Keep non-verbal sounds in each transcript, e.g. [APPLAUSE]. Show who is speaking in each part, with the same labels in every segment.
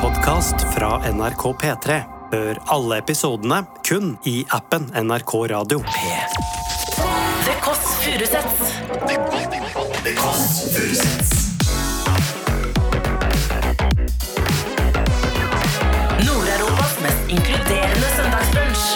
Speaker 1: podkast fra NRK P3. Hør alle episodene kun i appen NRK Radio.
Speaker 2: Det Kåss Furuseths. Nord-Europas mest inkluderende søndagsbrunsj.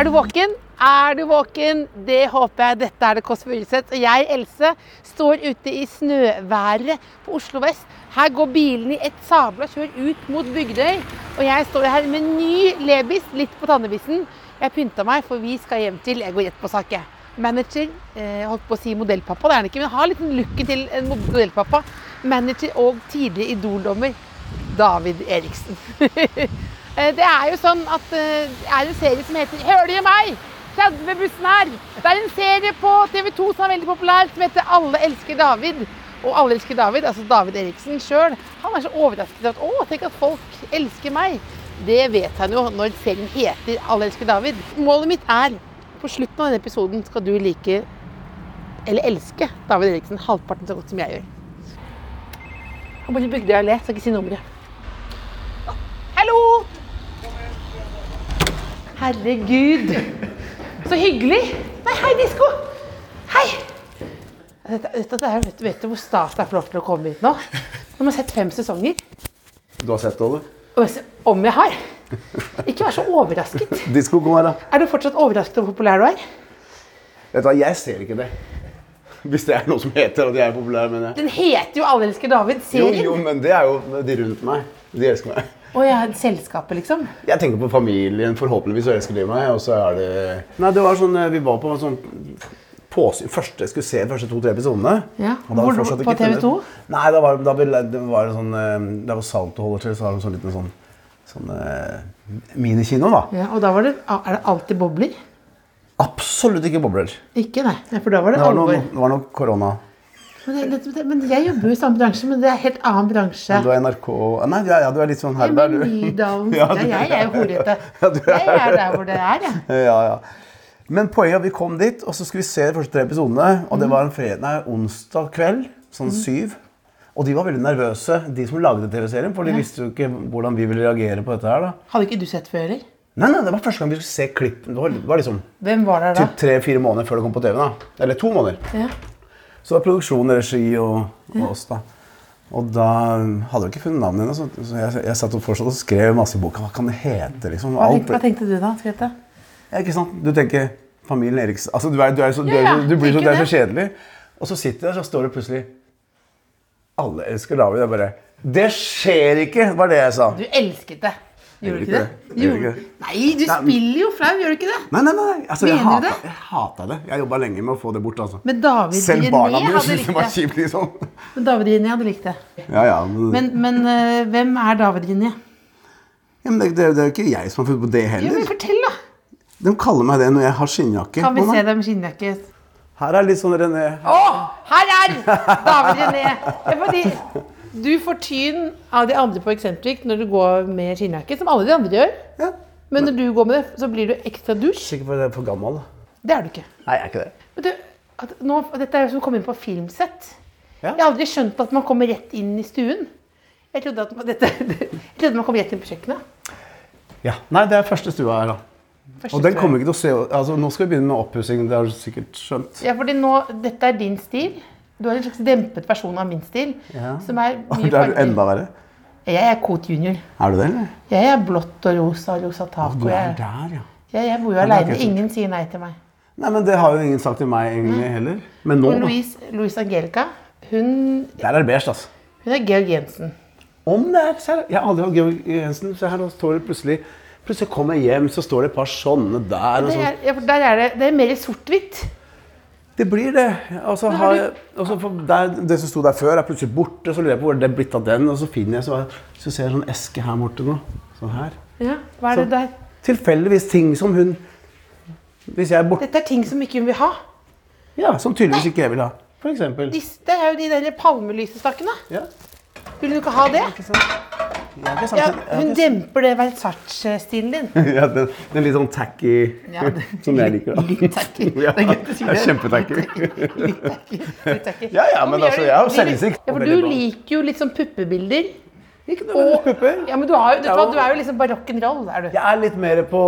Speaker 3: Er du våken? Er du våken? Det håper jeg. Dette er det Kåss Furuseth. Og jeg, Else, står ute i snøværet på Oslo vest. Her går bilene i et sabla kjør ut mot Bygdøy. Og jeg står her med en ny lebis, litt på tannebissen. Jeg pynta meg, for vi skal hjem til Jeg går rett på sak, jeg. Manager, eh, holdt på å si modellpappa, det er han ikke, men har litt den looken til en modellpappa. Manager og tidligere Idol-dommer. David Eriksen. [LAUGHS] Eh, det er jo sånn at eh, det er en serie som heter Hører dere meg? 30 med bussen her. Det er en serie på TV 2 som er veldig populær, som heter Alle elsker David. Og alle elsker David, altså David Eriksen sjøl. Han er så overrasket over at å, tenk at folk elsker meg. Det vet han jo når serien heter Alle elsker David. Målet mitt er på slutten av denne episoden skal du like, eller elske, David Eriksen halvparten så godt som jeg gjør. Han bor i Bygdøy allé, skal ikke si nummeret. Hallo! Herregud. Så hyggelig. Nei, hei, disko. Hei. Dette, dette er, jo- vet, du, vet du hvor stas det er å få lov til å komme hit nå? Nå har jeg sett fem sesonger.
Speaker 4: Du har sett det, du?
Speaker 3: Og jeg ser- Om jeg har. Ikke vær så overrasket.
Speaker 4: Disko, kom her, da.
Speaker 3: Er du fortsatt overrasket over hvor populær du er?
Speaker 4: Vet du hva, jeg ser ikke det. Hvis det er noe som heter at jeg er populær, mener jeg.
Speaker 3: Den heter jo 'Alle elsker David'.
Speaker 4: Jo,
Speaker 3: Serien.
Speaker 4: jo, men det er jo de rundt meg. De elsker meg.
Speaker 3: Og jeg har selskapet, liksom.
Speaker 4: Jeg tenker på familien, forhåpentligvis så elsker de meg, og så er det Nei, det var sånn eh, Vi var på en sånn påsyn første, Jeg skulle se de første to-tre episodene.
Speaker 3: Ja,
Speaker 4: og da
Speaker 3: hvor
Speaker 4: var det
Speaker 3: du-
Speaker 4: fortsatt
Speaker 3: på
Speaker 4: ikke funnet-
Speaker 3: TV2?
Speaker 4: Nei, da var da, ble- det var en sånn eh, Der hvor Salto holder til, så har de sånn liten sånn, sånn eh, minikino, da.
Speaker 3: Ja, og da var det, er det alltid bobler?
Speaker 4: Absolutt ikke bobler.
Speaker 3: Ikke, nei. nei, For da var det,
Speaker 4: Det var noe,
Speaker 3: alvor.
Speaker 4: det var noe korona.
Speaker 3: Men, det, det, det, men jeg jobber jo i samme bransje, men det er en helt annen bransje.
Speaker 4: Du er NRK Nei, ja, ja, du er litt sånn her.
Speaker 3: Jeg
Speaker 4: der,
Speaker 3: er
Speaker 4: du.
Speaker 3: Nydalen.
Speaker 4: [LAUGHS] Ja,
Speaker 3: Ja,
Speaker 4: du-
Speaker 3: jeg er jo horete.
Speaker 4: [LAUGHS] Ja, du er
Speaker 3: Jeg er der hvor det er, jeg.
Speaker 4: Ja, ja. Men poenget er at vi kom dit, og så skulle vi se de første tre episodene. Og det
Speaker 3: Mhm.
Speaker 4: var en fred, nei, onsdag kveld, sånn syv. Og de var veldig nervøse, de som lagde TV-serien. For de visste jo ikke hvordan vi ville reagere på dette her. da.
Speaker 3: Hadde ikke du sett før, eller?
Speaker 4: Nei, nei, det var første gang vi skulle se klipp. Det var, det var liksom
Speaker 3: Hvem var der da?
Speaker 4: typ tre-fire måneder før det kom på TV. da. Eller to måneder.
Speaker 3: Ja.
Speaker 4: Så det var produksjon, regi og, og oss, da. Og da hadde vi ikke funnet navnet hennes. så- Så jeg, jeg satt og fortsatt og skrev masse i boka. Hva kan det hete? liksom?
Speaker 3: Hva
Speaker 4: Alt
Speaker 3: tenkte, hva tenkte du da, Grete?
Speaker 4: Ja, ikke sant? Du tenker familien Eriksen altså, du, er, du, er så, du,
Speaker 3: Ja, ja,
Speaker 4: er, så- du blir så,
Speaker 3: tenker
Speaker 4: du er så
Speaker 3: det.
Speaker 4: kjedelig. Og så sitter jeg, og så står det plutselig Alle elsker David. Jeg bare Det skjer ikke, var det jeg sa.
Speaker 3: Du elsket det. Gjorde du ikke
Speaker 4: Gjorde
Speaker 3: det?
Speaker 4: ikke det.
Speaker 3: Gjorde-
Speaker 4: Gjorde ikke det.
Speaker 3: Nei, du spiller jo flau, gjør du ikke det?
Speaker 4: Nei, nei, nei. Altså, jeg
Speaker 3: Mener du
Speaker 4: hata,
Speaker 3: det?
Speaker 4: jeg hata det. Jeg jobba lenge med å få det bort. altså.
Speaker 3: Men David
Speaker 4: Selv
Speaker 3: René
Speaker 4: barna mine
Speaker 3: hadde
Speaker 4: syntes det var
Speaker 3: likt det.
Speaker 4: kjipt. liksom.
Speaker 3: Men David René hadde likt det.
Speaker 4: Ja, ja, men,
Speaker 3: Men, men øh, hvem er David René?
Speaker 4: ja, men det, det, det er jo ikke jeg som har funnet på det
Speaker 3: Ja, men
Speaker 4: heller.
Speaker 3: fortell, da!
Speaker 4: De kaller meg det når jeg har skinnjakke.
Speaker 3: Kan vi
Speaker 4: på
Speaker 3: se
Speaker 4: meg.
Speaker 3: dem i skinnjakke?
Speaker 4: Her er litt sånn René.
Speaker 3: Å, her er David René! Det er
Speaker 4: [LAUGHS]
Speaker 3: fordi du får tyn av de andre på Eksentric når du går med skinnjakke, som alle de andre gjør.
Speaker 4: Ja.
Speaker 3: Men når du går med det, så blir du ekstra dusj.
Speaker 4: Sikker på at jeg er for gammel. da.
Speaker 3: Det er du ikke.
Speaker 4: Nei, jeg er ikke det.
Speaker 3: Men du, at nå, og dette er jo som å komme inn på filmsett.
Speaker 4: Ja.
Speaker 3: Jeg har aldri skjønt at man kommer rett inn i stuen. Jeg trodde, at man, dette, [LAUGHS] jeg trodde man kom rett inn på kjøkkenet.
Speaker 4: Ja. Nei, det er første stua her, da.
Speaker 3: Første
Speaker 4: Og den
Speaker 3: tur.
Speaker 4: kommer ikke til å se altså, Nå skal vi begynne med oppussing, det har du sikkert skjønt.
Speaker 3: Ja, fordi nå, dette er din stil. Du er en slags dempet versjon av min stil.
Speaker 4: Ja.
Speaker 3: Som er
Speaker 4: [LAUGHS] Og
Speaker 3: mye
Speaker 4: det er du
Speaker 3: farger.
Speaker 4: enda verre.
Speaker 3: Jeg er Coot junior.
Speaker 4: Er du det, eller?
Speaker 3: Jeg er blått og rosa og rosa tak.
Speaker 4: Du
Speaker 3: og
Speaker 4: er
Speaker 3: jeg,
Speaker 4: der, ja.
Speaker 3: jeg, jeg bor jo
Speaker 4: det er
Speaker 3: aleine.
Speaker 4: ikke sant.
Speaker 3: Ingen sier nei til meg.
Speaker 4: Nei, men det har jo ingen sagt til meg egentlig heller. Men nå,
Speaker 3: Mm. Og
Speaker 4: da.
Speaker 3: Louise, Louise Angelica, hun,
Speaker 4: Der er det beige, altså.
Speaker 3: hun er Georg Jensen.
Speaker 4: Om det er ser, Jeg har aldri hatt Georg Jensen. Se her, nå står det plutselig Plutselig kommer jeg hjem, så står det et par sånne der. Og
Speaker 3: Det
Speaker 4: sånn.
Speaker 3: er, ja, for der er det, det er mer sort-hvitt.
Speaker 4: Det blir det. Og så
Speaker 3: har
Speaker 4: har jeg, og så for der, det som sto der før, er plutselig borte. Så lurer jeg på hvor det er blitt av den. Og så finner jeg så, så ser jeg en sånn eske her borte nå. Sånn her.
Speaker 3: Ja, hva er det
Speaker 4: Så-
Speaker 3: der?
Speaker 4: Tilfeldigvis ting som hun Hvis jeg er borte
Speaker 3: Dette er ting som ikke hun vil ha.
Speaker 4: Ja, som tydeligvis ikke jeg vil ha. For eksempel.
Speaker 3: Disse, det er jo de der palmelysestakene.
Speaker 4: Ja.
Speaker 3: Vil du ikke ha det?
Speaker 4: Jeg har ikke sagt
Speaker 3: Ja,
Speaker 4: det- jeg har
Speaker 3: hun
Speaker 4: ikke-
Speaker 3: demper det Versace-stilen
Speaker 4: [LAUGHS]
Speaker 3: din.
Speaker 4: Ja, den, den litt sånn tacky
Speaker 3: [LAUGHS] Ja, det-
Speaker 4: [LAUGHS] som jeg liker. da.
Speaker 3: Litt tacky.
Speaker 4: Ja,
Speaker 3: Det er gøy at du sier
Speaker 4: det
Speaker 3: det.
Speaker 4: er kjempetacky.
Speaker 3: [LAUGHS] Litt tacky, litt tacky.
Speaker 4: Ja, ja, men
Speaker 3: Hvorfor
Speaker 4: altså,
Speaker 3: gjør du-
Speaker 4: jeg har
Speaker 3: blir
Speaker 4: jo
Speaker 3: du-
Speaker 4: selvinnsikt.
Speaker 3: Ja, for
Speaker 4: Veldig
Speaker 3: du
Speaker 4: bra.
Speaker 3: liker jo litt sånn puppebilder.
Speaker 4: Ikke nødvendigvis pupper.
Speaker 3: Ja, men du, har, jo- du,
Speaker 4: Ja,
Speaker 3: vet
Speaker 4: og-
Speaker 3: hva, du er jo liksom barock'n'roll, er du.
Speaker 4: Jeg er litt mer på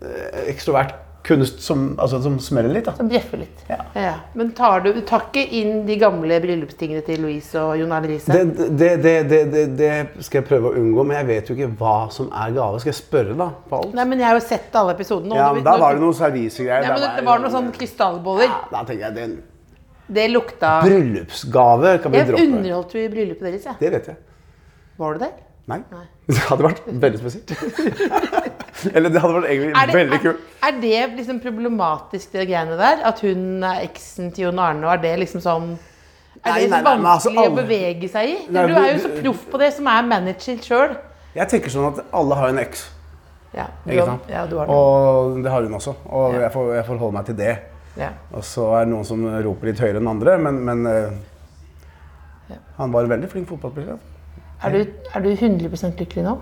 Speaker 4: eh, ekstrovert kunst som, altså, som smeller litt. da.
Speaker 3: Som bjeffer litt.
Speaker 4: Ja.
Speaker 3: Men tar du, du tar ikke inn de gamle bryllupstingene til Louise og Jon Arne Riise?
Speaker 4: Det, det, det, det, det, det skal jeg prøve å unngå, men jeg vet jo ikke hva som er gave. Skal jeg spørre, da? på alt?
Speaker 3: Nei, men jeg har jo sett alle episodene. og
Speaker 4: Ja,
Speaker 3: du-
Speaker 4: men Da
Speaker 3: når-
Speaker 4: var det noen servicegreier.
Speaker 3: Nei, men
Speaker 4: da
Speaker 3: det var sånn noen sånne krystallboller.
Speaker 4: Ja, Da tenker jeg den
Speaker 3: Det lukta
Speaker 4: Bryllupsgave kan vi
Speaker 3: Jeg
Speaker 4: droppe.
Speaker 3: underholdt jo i bryllupet deres, jeg.
Speaker 4: Det vet jeg.
Speaker 3: Var du der?
Speaker 4: Nei. [LAUGHS] Det hadde vært veldig spesielt. [LAUGHS] Eller det hadde vært egentlig
Speaker 3: Er det,
Speaker 4: veldig
Speaker 3: er,
Speaker 4: kult.
Speaker 3: er det liksom problematisk, det greiene der? At hun er eksen til Jon Arne, og er det liksom sånn Er
Speaker 4: Nei,
Speaker 3: det
Speaker 4: nei, nei, men altså,
Speaker 3: vanskelig å
Speaker 4: alle-
Speaker 3: bevege seg i?
Speaker 4: Nei,
Speaker 3: du er jo
Speaker 4: du-
Speaker 3: så proff på det, som er manager sjøl.
Speaker 4: Jeg tenker sånn at alle har en eks.
Speaker 3: Ja, du
Speaker 4: Ikke
Speaker 3: har-
Speaker 4: sant?
Speaker 3: ja, du har det.
Speaker 4: Og det har hun også. Og jeg, får, jeg får holde meg til det.
Speaker 3: Ja.
Speaker 4: Og så er det noen som roper litt høyere enn andre, men, men eh, Han var en veldig flink fotballspiller. da.
Speaker 3: Er, du, er du 100 lykkelig nå?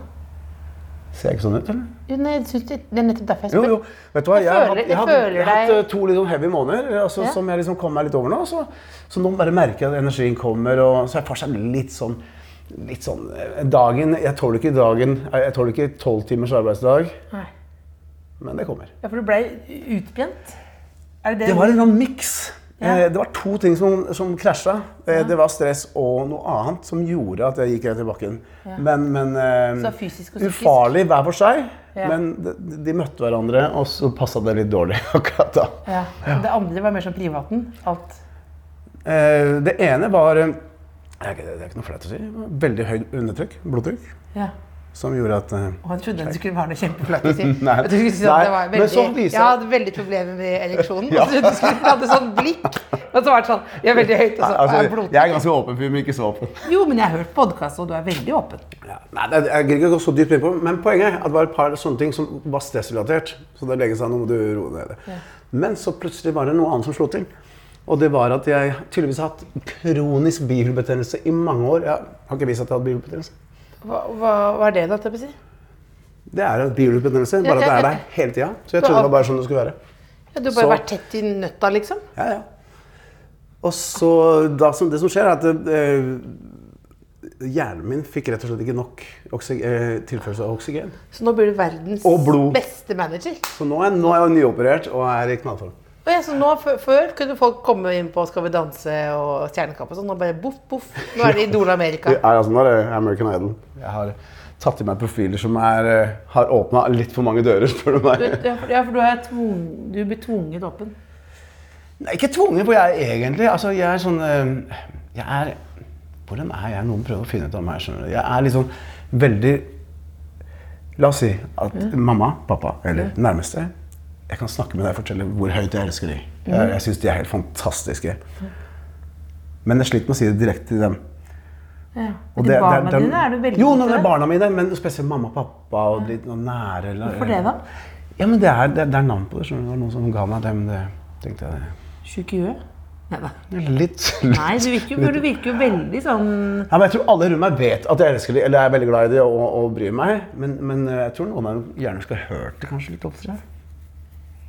Speaker 4: Ser jeg ikke sånn ut, eller?
Speaker 3: Jo, nei, jeg synes det, det er nettopp derfor jeg
Speaker 4: Jo,
Speaker 3: spør.
Speaker 4: jo. Vet du hva,
Speaker 3: Jeg
Speaker 4: jeg,
Speaker 3: Mm.
Speaker 4: har
Speaker 3: føler- jeg
Speaker 4: hatt- jeg, hadde,
Speaker 3: føler
Speaker 4: jeg har hatt
Speaker 3: deg-
Speaker 4: eh, to litt sånn heavy måneder altså,
Speaker 3: Ja.
Speaker 4: som jeg liksom kom meg litt over nå. Så, så nå bare merker jeg at energien kommer, og så jeg får seg litt sånn Litt sånn eh, Dagen Jeg tåler ikke dagen Jeg tåler ikke tolv timers arbeidsdag,
Speaker 3: Nei.
Speaker 4: men det kommer.
Speaker 3: Ja, for du blei utbrent? Er det det?
Speaker 4: Det var en sånn miks.
Speaker 3: Ja.
Speaker 4: Eh, Det var to ting som, som krasja. Eh, Det var stress og noe annet som gjorde at jeg gikk rett i bakken. Men, men eh,
Speaker 3: Så fysisk og psykisk.
Speaker 4: Ufarlig hver for seg.
Speaker 3: Ja.
Speaker 4: Men de, de møtte hverandre, og så passa det litt dårlig [LAUGHS] akkurat da.
Speaker 3: ja. Det andre var mer sånn privaten? Alt?
Speaker 4: Eh, Det ene var eh, Det er ikke, det er ikke noe flaut å si. Veldig høyt undertrykk. Blodtrykk.
Speaker 3: Ja.
Speaker 4: Som gjorde at eh,
Speaker 3: Og han trodde det skulle være noe kjempeflaut
Speaker 4: [LAUGHS]
Speaker 3: å si.
Speaker 4: Nei.
Speaker 3: Jeg trodde du skulle si at det var
Speaker 4: Nei, men
Speaker 3: veldig,
Speaker 4: sånn så viser-
Speaker 3: Jeg hadde veldig problemer med ereksjonen. Og [LAUGHS] så trodde du skulle hadde sånn blikk. Og så var det sånn Jeg er veldig høyt, og så
Speaker 4: altså,
Speaker 3: er blod.
Speaker 4: Jeg er ganske åpen fyr, men ikke så åpen.
Speaker 3: Jo, men jeg har hørt podkast, og du er veldig åpen.
Speaker 4: Ja, nei, det- jeg gidder ikke å gå så dypt inn på det, men poenget er at det var et par sånne ting som var stressrelatert. Så det legger seg nå må du roe ned. Men så plutselig var det noe annet som slo til. Og det var at jeg tydeligvis har hatt kronisk bihulebetennelse i mange år. Jeg har ikke vist at jeg har hatt bihulebetennelse.
Speaker 3: Hva, hva, hva er det, da? Tøpsi?
Speaker 4: Det er en bihulebetennelse, bare at det er der hele tida. Så jeg trodde det var bare sånn det skulle være.
Speaker 3: Ja, du har bare
Speaker 4: Så-
Speaker 3: vært tett i nøtta, liksom?
Speaker 4: Ja, ja. Og så da, som, Det som skjer, er at eh, hjernen min fikk rett og slett ikke nok oksyg- eh, tilførsel av oksygen.
Speaker 3: Så nå blir du verdens
Speaker 4: Og blod.
Speaker 3: beste manager.
Speaker 4: Så nå er, nå er jeg nyoperert og er i knallform.
Speaker 3: Og ja, så nå, før, før kunne folk komme inn på Skal vi danse og Stjernekamp og sånn. Nå bare boff, boff. Nå er det Idol Amerika.
Speaker 4: Jeg er altså, nå er det American Idol. Jeg har tatt i meg profiler som er, eh, har åpna litt for mange dører, spør du
Speaker 3: Du,
Speaker 4: meg.
Speaker 3: ja, for- ja, for du, er tvung, du blir tvunget åpen.
Speaker 4: Nei, ikke tvunget, for jeg er egentlig altså, Jeg er sånn eh, Jeg er Hvordan er jeg? Noen prøver å finne ut av meg. skjønner du. Jeg er liksom veldig La oss si at mamma, pappa eller nærmeste Jeg kan snakke med deg og fortelle hvor høyt jeg elsker dem.
Speaker 3: Mhm.
Speaker 4: Jeg, jeg syns de er helt fantastiske. Men jeg sliter med å si det direkte til dem.
Speaker 3: Ja.
Speaker 4: Og
Speaker 3: Men til barna dine er du veldig
Speaker 4: Jo,
Speaker 3: god
Speaker 4: nå,
Speaker 3: til
Speaker 4: det er
Speaker 3: det.
Speaker 4: barna mine, men spesielt mamma og pappa og litt noe nære. Eller,
Speaker 3: Hvorfor det da?
Speaker 4: Ja, men det er, det, er- det er navn på det. skjønner du. Det var noen som ga meg det, men det tenkte jeg
Speaker 3: Sjuk i huet? Nei da.
Speaker 4: det er litt, litt.
Speaker 3: Nei, du virker, jo, du virker jo veldig sånn
Speaker 4: Ja, men jeg tror alle rundt meg vet at jeg elsker dem, eller er veldig glad i dem og, og bryr meg. Men, men eh, jeg tror noen av dem gjerne skulle ha hørt det kanskje litt oftere.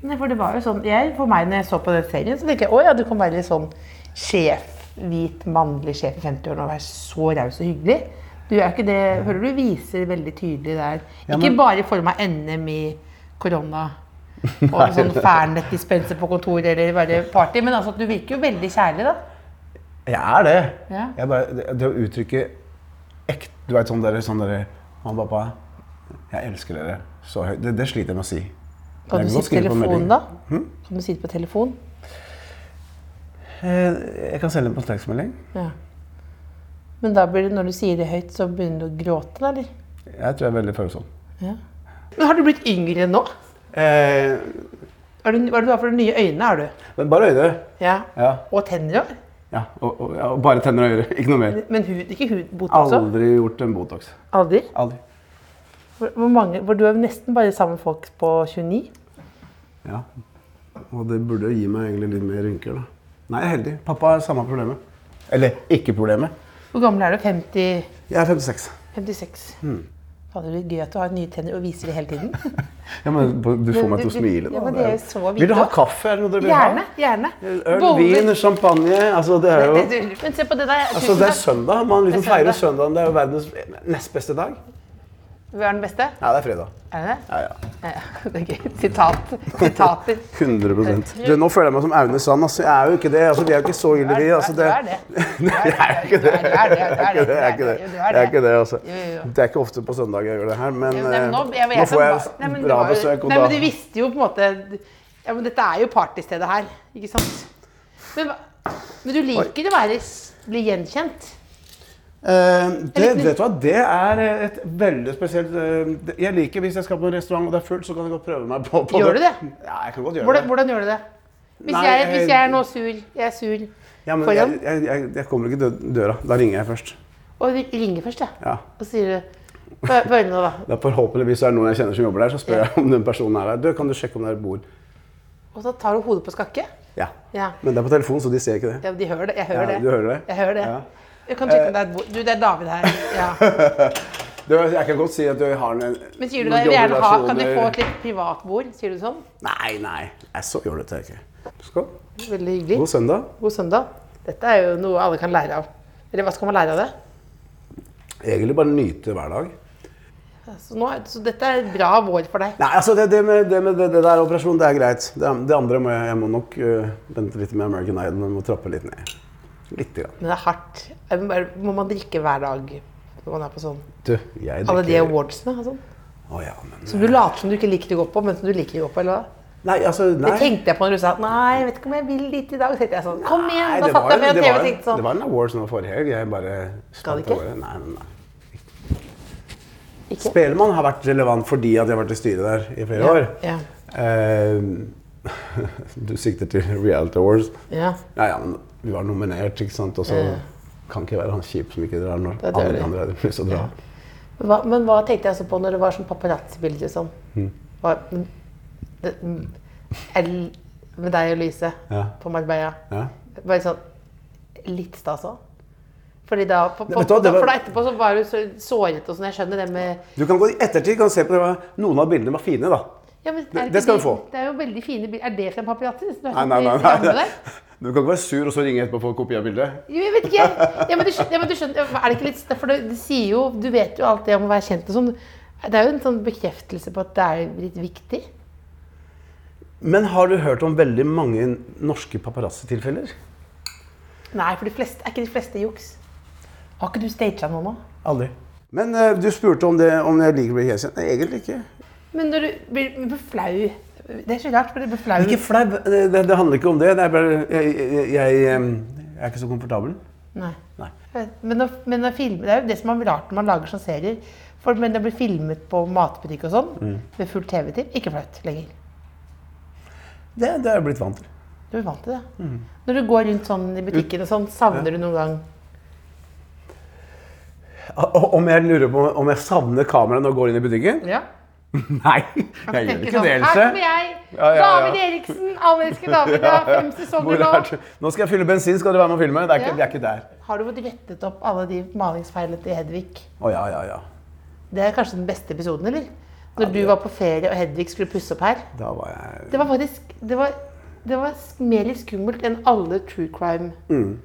Speaker 3: Nei, for det var jo sånn jeg, For meg når jeg så på den serien, så tenkte jeg å ja, du kan være litt sånn sjef. Hvit mannlig sjef i 50-årene og være så raus og hyggelig. Du er ikke det, hører du viser veldig tydelig der.
Speaker 4: Ja,
Speaker 3: Ikke
Speaker 4: men-
Speaker 3: bare i form av NM i
Speaker 4: [LAUGHS]
Speaker 3: korona og en sånn Fernet-dispenser på kontoret eller bare party, men altså at du virker jo veldig kjærlig, da.
Speaker 4: Jeg er det.
Speaker 3: Ja.
Speaker 4: Jeg bare, det, det å uttrykke ekte Du vet sånn der, sånn der Mamma og pappa, jeg elsker dere så høyt. Det, det sliter jeg med å si. Jeg
Speaker 3: Kan du
Speaker 4: kan
Speaker 3: si
Speaker 4: godt
Speaker 3: på
Speaker 4: skrive på
Speaker 3: telefon,
Speaker 4: melding. Hm?
Speaker 3: da? Kan du si det på telefon?
Speaker 4: Eh, Jeg kan selge en posttekstmelding.
Speaker 3: Ja. Men da blir det, når du sier det høyt, så begynner du å gråte, da, eller?
Speaker 4: Jeg tror jeg er veldig følsom.
Speaker 3: Men har du blitt yngre nå?
Speaker 4: Eh,
Speaker 3: Er du, hva er det du har for nye øyne, er du?
Speaker 4: men bare øyne.
Speaker 3: Ja.
Speaker 4: Ja.
Speaker 3: Og tenner òg?
Speaker 4: ja og, og, ja, og bare tenner og ører. Ikke noe mer.
Speaker 3: Men hud, ikke hud, botox òg?
Speaker 4: Aldri gjort en Botox.
Speaker 3: Aldri?
Speaker 4: Aldri.
Speaker 3: Hvor, hvor mange, hvor du er nesten bare sammen med folk på 29?
Speaker 4: Ja. Og det burde jo gi meg egentlig litt mer rynker, da. Nei, jeg er heldig. Pappa har samme problemet. Eller ikke problemet.
Speaker 3: Hvor gammel er du? 50?
Speaker 4: Jeg er 56.
Speaker 3: 56.
Speaker 4: Hmm.
Speaker 3: Fader, det blir gøy at du har nye tenner og viser det hele
Speaker 4: [LAUGHS]
Speaker 3: tiden.
Speaker 4: Ja, men du får meg til å
Speaker 3: du-
Speaker 4: smile.
Speaker 3: ja,
Speaker 4: da.
Speaker 3: men
Speaker 4: Det er-
Speaker 3: det er så vidt
Speaker 4: vil du ha
Speaker 3: da.
Speaker 4: kaffe? Er det noe dere vil
Speaker 3: Gjerne.
Speaker 4: ha?
Speaker 3: gjerne.
Speaker 4: Øl,
Speaker 3: Boller.
Speaker 4: vin, champagne altså det er jo...
Speaker 3: Det- det- [LAUGHS] Men se på det der.
Speaker 4: Altså,
Speaker 3: Tusen
Speaker 4: det er
Speaker 3: takk.
Speaker 4: søndag. Man liksom
Speaker 3: Det er søndag.
Speaker 4: feirer søndagen. Det er jo verdens nest beste dag.
Speaker 3: Hva er den beste?
Speaker 4: Nei, det er fredag.
Speaker 3: Er det det?
Speaker 4: Ja, ja.
Speaker 3: Ja, ja. [LAUGHS] Det er gøy. Sitat. Sitater.
Speaker 4: 100 du, Nå føler jeg meg som Aune Sand. Altså, jeg er jo ikke det. Altså, vi er jo ikke så ille, vi. Altså,
Speaker 3: Du
Speaker 4: det...
Speaker 3: er det.
Speaker 4: [LAUGHS] Jeg er jo ikke det.
Speaker 3: Du er det, du er det, du er det, du er det.
Speaker 4: Jeg er ikke det.
Speaker 3: Jo, du er
Speaker 4: Jeg er ikke det, altså.
Speaker 3: Jo, jo, jo.
Speaker 4: Det er ikke ofte på søndag jeg gjør det her, men
Speaker 3: Jo, nei, men
Speaker 4: eh,
Speaker 3: nå, jeg, jeg,
Speaker 4: nå får
Speaker 3: som- Nei, men
Speaker 4: jeg
Speaker 3: du
Speaker 4: bra
Speaker 3: har jo-
Speaker 4: besøk. Og
Speaker 3: Nei,
Speaker 4: da
Speaker 3: men du visste jo på en måte ja, men Dette er jo partystedet her, ikke sant? Men, hva- men du liker å være, s- bli gjenkjent?
Speaker 4: Eh, det,
Speaker 3: Jeg liker-
Speaker 4: vet du hva, det er et veldig spesielt eh, det- Jeg liker hvis jeg skal på en restaurant og det er fullt, så kan jeg godt prøve meg på, på
Speaker 3: Gjør du det?
Speaker 4: Ja, jeg kan godt gjøre
Speaker 3: Hvordan,
Speaker 4: det.
Speaker 3: hvordan gjør du det? Hvis,
Speaker 4: Nei,
Speaker 3: jeg, hvis
Speaker 4: jeg-
Speaker 3: jeg er nå sur, jeg er sur
Speaker 4: Ja, men jeg,
Speaker 3: foran,
Speaker 4: jeg, jeg, jeg kommer ikke til døra. Da ringer jeg først.
Speaker 3: og ri- ringer først, jeg,
Speaker 4: Ja.
Speaker 3: og sier du Få høre nå, da.
Speaker 4: Da forhåpentligvis er det noen jeg kjenner som jobber der, så spør jeg om den personen er der. Du, kan du sjekke om det er et bord?
Speaker 3: Og så tar du hodet på skakke.
Speaker 4: Ja.
Speaker 3: Ja.
Speaker 4: Men det er på telefon, så de ser ikke det.
Speaker 3: Ja, de hører det. Jeg hører
Speaker 4: Ja,
Speaker 3: det.
Speaker 4: du hører det?
Speaker 3: Jeg hører det.
Speaker 4: Ja. Eh.
Speaker 3: Jeg kan sjekke om det er et bord. Du, det er David her. Ja.
Speaker 4: Du, jeg kan godt si at du har en
Speaker 3: Men sier du da jeg vil gjerne ha Kan du få et litt privat bord? Sier du sånn?
Speaker 4: Nei, nei. Jeg så jålete er jeg ikke. Skål.
Speaker 3: Veldig hyggelig.
Speaker 4: God søndag.
Speaker 3: God søndag. Dette er jo noe alle kan lære av. Eller hva skal man lære av det?
Speaker 4: Egentlig bare nyte hver dag.
Speaker 3: Så, nå, så dette er et bra vår for deg.
Speaker 4: Nei, altså det, det med, det, med det, det der operasjonen, det er greit. Det, det andre må jeg, jeg må nok øh, vente litt med American Idol. Jeg må trappe litt ned. Litt. Grann.
Speaker 3: Men det er hardt. Er det bare- Må man drikke hver dag når man er på sånn?
Speaker 4: Du, jeg
Speaker 3: Alle de
Speaker 4: drikker-
Speaker 3: awardsene og sånn?
Speaker 4: Å, ja, men...
Speaker 3: Som du later som du ikke liker å gå på, men som du liker å gå på? eller hva?
Speaker 4: Nei, altså, nei.
Speaker 3: Det tenkte jeg på når du sa nei, jeg vet ikke om jeg vil dit i dag. Så tenkte jeg sånn, kom igjen,
Speaker 4: Nei,
Speaker 3: da satt
Speaker 4: det var
Speaker 3: jeg foran
Speaker 4: jo- det
Speaker 3: TV
Speaker 4: var-
Speaker 3: og tenkte sånn.
Speaker 4: Det var en awards nå forrige helg. Jeg bare
Speaker 3: Skal det
Speaker 4: spant
Speaker 3: ikke?
Speaker 4: over Nei, nei, nei.
Speaker 3: Ikke?
Speaker 4: Spelemann har vært relevant fordi at jeg har vært i styret der i flere
Speaker 3: Ja,
Speaker 4: år.
Speaker 3: ja.
Speaker 4: Eh, [LAUGHS] du sikter til Reality Awards.
Speaker 3: Ja.
Speaker 4: Ja, ja, men vi var nominert, ikke sant? Og så kan ikke være han kjip som ikke drar når
Speaker 3: Da dør
Speaker 4: alle
Speaker 3: de.
Speaker 4: de andre har lyst til å dra.
Speaker 3: Hva, men hva tenkte jeg så på når det var sånn paparazzi-bilder og sånn? Hva- mm, det- mm, el- Med deg og Lyse
Speaker 4: Ja.
Speaker 3: på Marbella.
Speaker 4: Ja.
Speaker 3: Bare sånn litt stas òg. Fordi da, på, på,
Speaker 4: vet du hva, det var-
Speaker 3: for da etterpå så var du så såret og sånn. Jeg skjønner det med
Speaker 4: Du kan gå i ettertid kan du se på det. hva- Noen av bildene var fine, da.
Speaker 3: ja, men er
Speaker 4: Det-
Speaker 3: ikke
Speaker 4: det skal du få.
Speaker 3: Det er jo veldig fine bilder. Er det fra en paparazzi? Du er
Speaker 4: Nei,
Speaker 3: sånn
Speaker 4: nei, nei.
Speaker 3: gammel
Speaker 4: nei.
Speaker 3: der.
Speaker 4: Du kan ikke være sur og så ringe etterpå og få kopi av bildet.
Speaker 3: Jo, Jeg vet ikke. jeg. Ja, men du skjønner, ja, men du skjønner er det ikke litt For det, det sier jo Du vet jo alt det om å være kjent og sånn. Det er jo en sånn bekreftelse på at det er litt viktig.
Speaker 4: Men har du hørt om veldig mange norske paparazzi-tilfeller?
Speaker 3: Nei, for de fleste, er ikke de fleste juks? Har ikke du staged noe nå?
Speaker 4: Aldri. Men eh, du spurte om, det, om jeg liker å bli helkjent. Nei, egentlig ikke.
Speaker 3: Men når du blir, blir flau Det er så rart, for du blir flau.
Speaker 4: Ikke flau. Det, det, det handler ikke om det. det er bare, jeg, jeg, jeg, em, jeg er ikke så komfortabel.
Speaker 3: Nei. Eh,
Speaker 4: Nei.
Speaker 3: Men, når, men når film, det er jo det som er rart når man lager sånne serier. For, men det blir filmet på matbutikk og sånn,
Speaker 4: Mm.
Speaker 3: med fullt TV-team. Ikke flaut lenger.
Speaker 4: Det, det er jeg blitt vant til.
Speaker 3: Du blir vant til det.
Speaker 4: Mm.
Speaker 3: Når du går rundt sånn i butikken og sånn, savner du noen gang
Speaker 4: O- Om jeg lurer på om jeg savner kameraet når jeg går inn i butikken?
Speaker 3: Ja.
Speaker 4: Nei, jeg gjør
Speaker 3: Tenker
Speaker 4: ikke det,
Speaker 3: sånn, Her kommer
Speaker 4: Else.
Speaker 3: jeg!
Speaker 4: Ja, ja, ja.
Speaker 3: David Eriksen! Alle elsker David. Jeg har fem
Speaker 4: [LAUGHS] Hvor
Speaker 3: sesonger nå.
Speaker 4: er du? Nå skal jeg fylle bensin, skal du være med og filme? Det er ikke,
Speaker 3: Ja.
Speaker 4: vi er ikke der.
Speaker 3: Har du fått rettet opp alle de malingsfeilene til Hedvig?
Speaker 4: Å ja, ja, ja.
Speaker 3: Det er kanskje den beste episoden, eller? Når du var på ferie og Hedvig skulle pusse opp her.
Speaker 4: Da var jeg
Speaker 3: Det var faktisk det var, det var sk- mer skummelt enn alle true crime-opplegg
Speaker 4: Mm.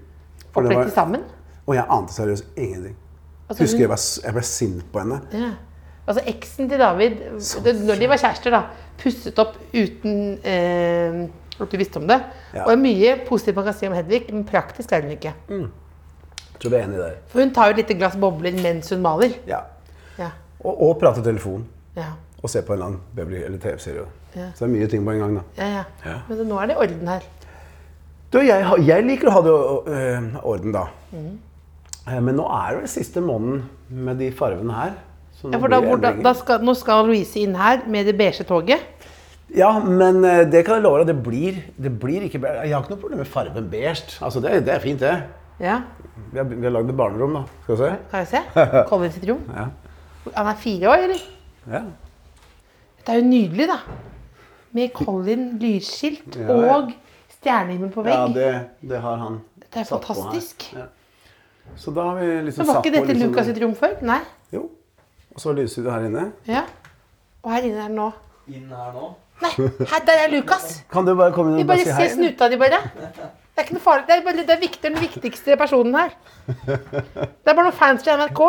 Speaker 4: For det var-
Speaker 3: til sammen.
Speaker 4: Og jeg ante seriøst ingenting.
Speaker 3: Altså,
Speaker 4: Husker
Speaker 3: hun-
Speaker 4: jeg ble, jeg ble sint på henne.
Speaker 3: Ja. Altså Eksen til David, det, når de var kjærester, da, pusset opp uten eh, at du visste om det.
Speaker 4: Ja.
Speaker 3: Og det er mye positivt man kan si om Hedvig, men praktisk er hun ikke.
Speaker 4: Jeg tror vi er enige der.
Speaker 3: For hun tar jo et lite glass bobler mens hun maler.
Speaker 4: Ja.
Speaker 3: Ja.
Speaker 4: Og, og prate i telefon.
Speaker 3: Ja.
Speaker 4: Og se på en eller annen Beverly eller TV-serie.
Speaker 3: Ja.
Speaker 4: Så det er mye ting på en gang, da.
Speaker 3: Ja, ja.
Speaker 4: Ja.
Speaker 3: Men nå er det orden her.
Speaker 4: Du, jeg, har- jeg liker å ha det øh, orden, da.
Speaker 3: Mm.
Speaker 4: Eh, Men nå er det vel siste måneden med de farvene her. så nå
Speaker 3: Ja, for da,
Speaker 4: blir det
Speaker 3: hvor, da,
Speaker 4: endringer.
Speaker 3: da skal, nå skal Louise inn her med det beige toget.
Speaker 4: Ja, men eh, det kan jeg love deg, det blir, det blir ikke beige. Jeg har ikke noe problem med farven beige. Altså, det, det er fint, det.
Speaker 3: Ja,
Speaker 4: Vi har, vi har lagd et barnerom, da. Skal vi se?
Speaker 3: kan
Speaker 4: [LAUGHS]
Speaker 3: jeg se? Colin sitt rom.
Speaker 4: Ja.
Speaker 3: Han er fire år, eller?
Speaker 4: ja.
Speaker 3: Det er jo nydelig, da. Med Colin lysskilt
Speaker 4: Ja, ja.
Speaker 3: og stjernehimmel på
Speaker 4: ja
Speaker 3: vegg.
Speaker 4: det, det har han
Speaker 3: Det er
Speaker 4: satt på her.
Speaker 3: fantastisk.
Speaker 4: Ja. Så da har vi liksom
Speaker 3: Men var ikke
Speaker 4: på
Speaker 3: dette
Speaker 4: liksom-
Speaker 3: Lukas sitt rom før? Nei.
Speaker 4: Jo. Og så lyser det her inne.
Speaker 3: Ja. Og her inne er den nå.
Speaker 5: inn her nå.
Speaker 3: Nei, her, der er Lukas.
Speaker 4: Kan du bare komme inn
Speaker 3: Vi
Speaker 4: og
Speaker 3: bare
Speaker 4: bare si hei?
Speaker 3: ser snuta di, bare. Det er ikke noe farlig. Det er, bare, det er viktig, den viktigste personen her. Det er bare noen fans fra NRK.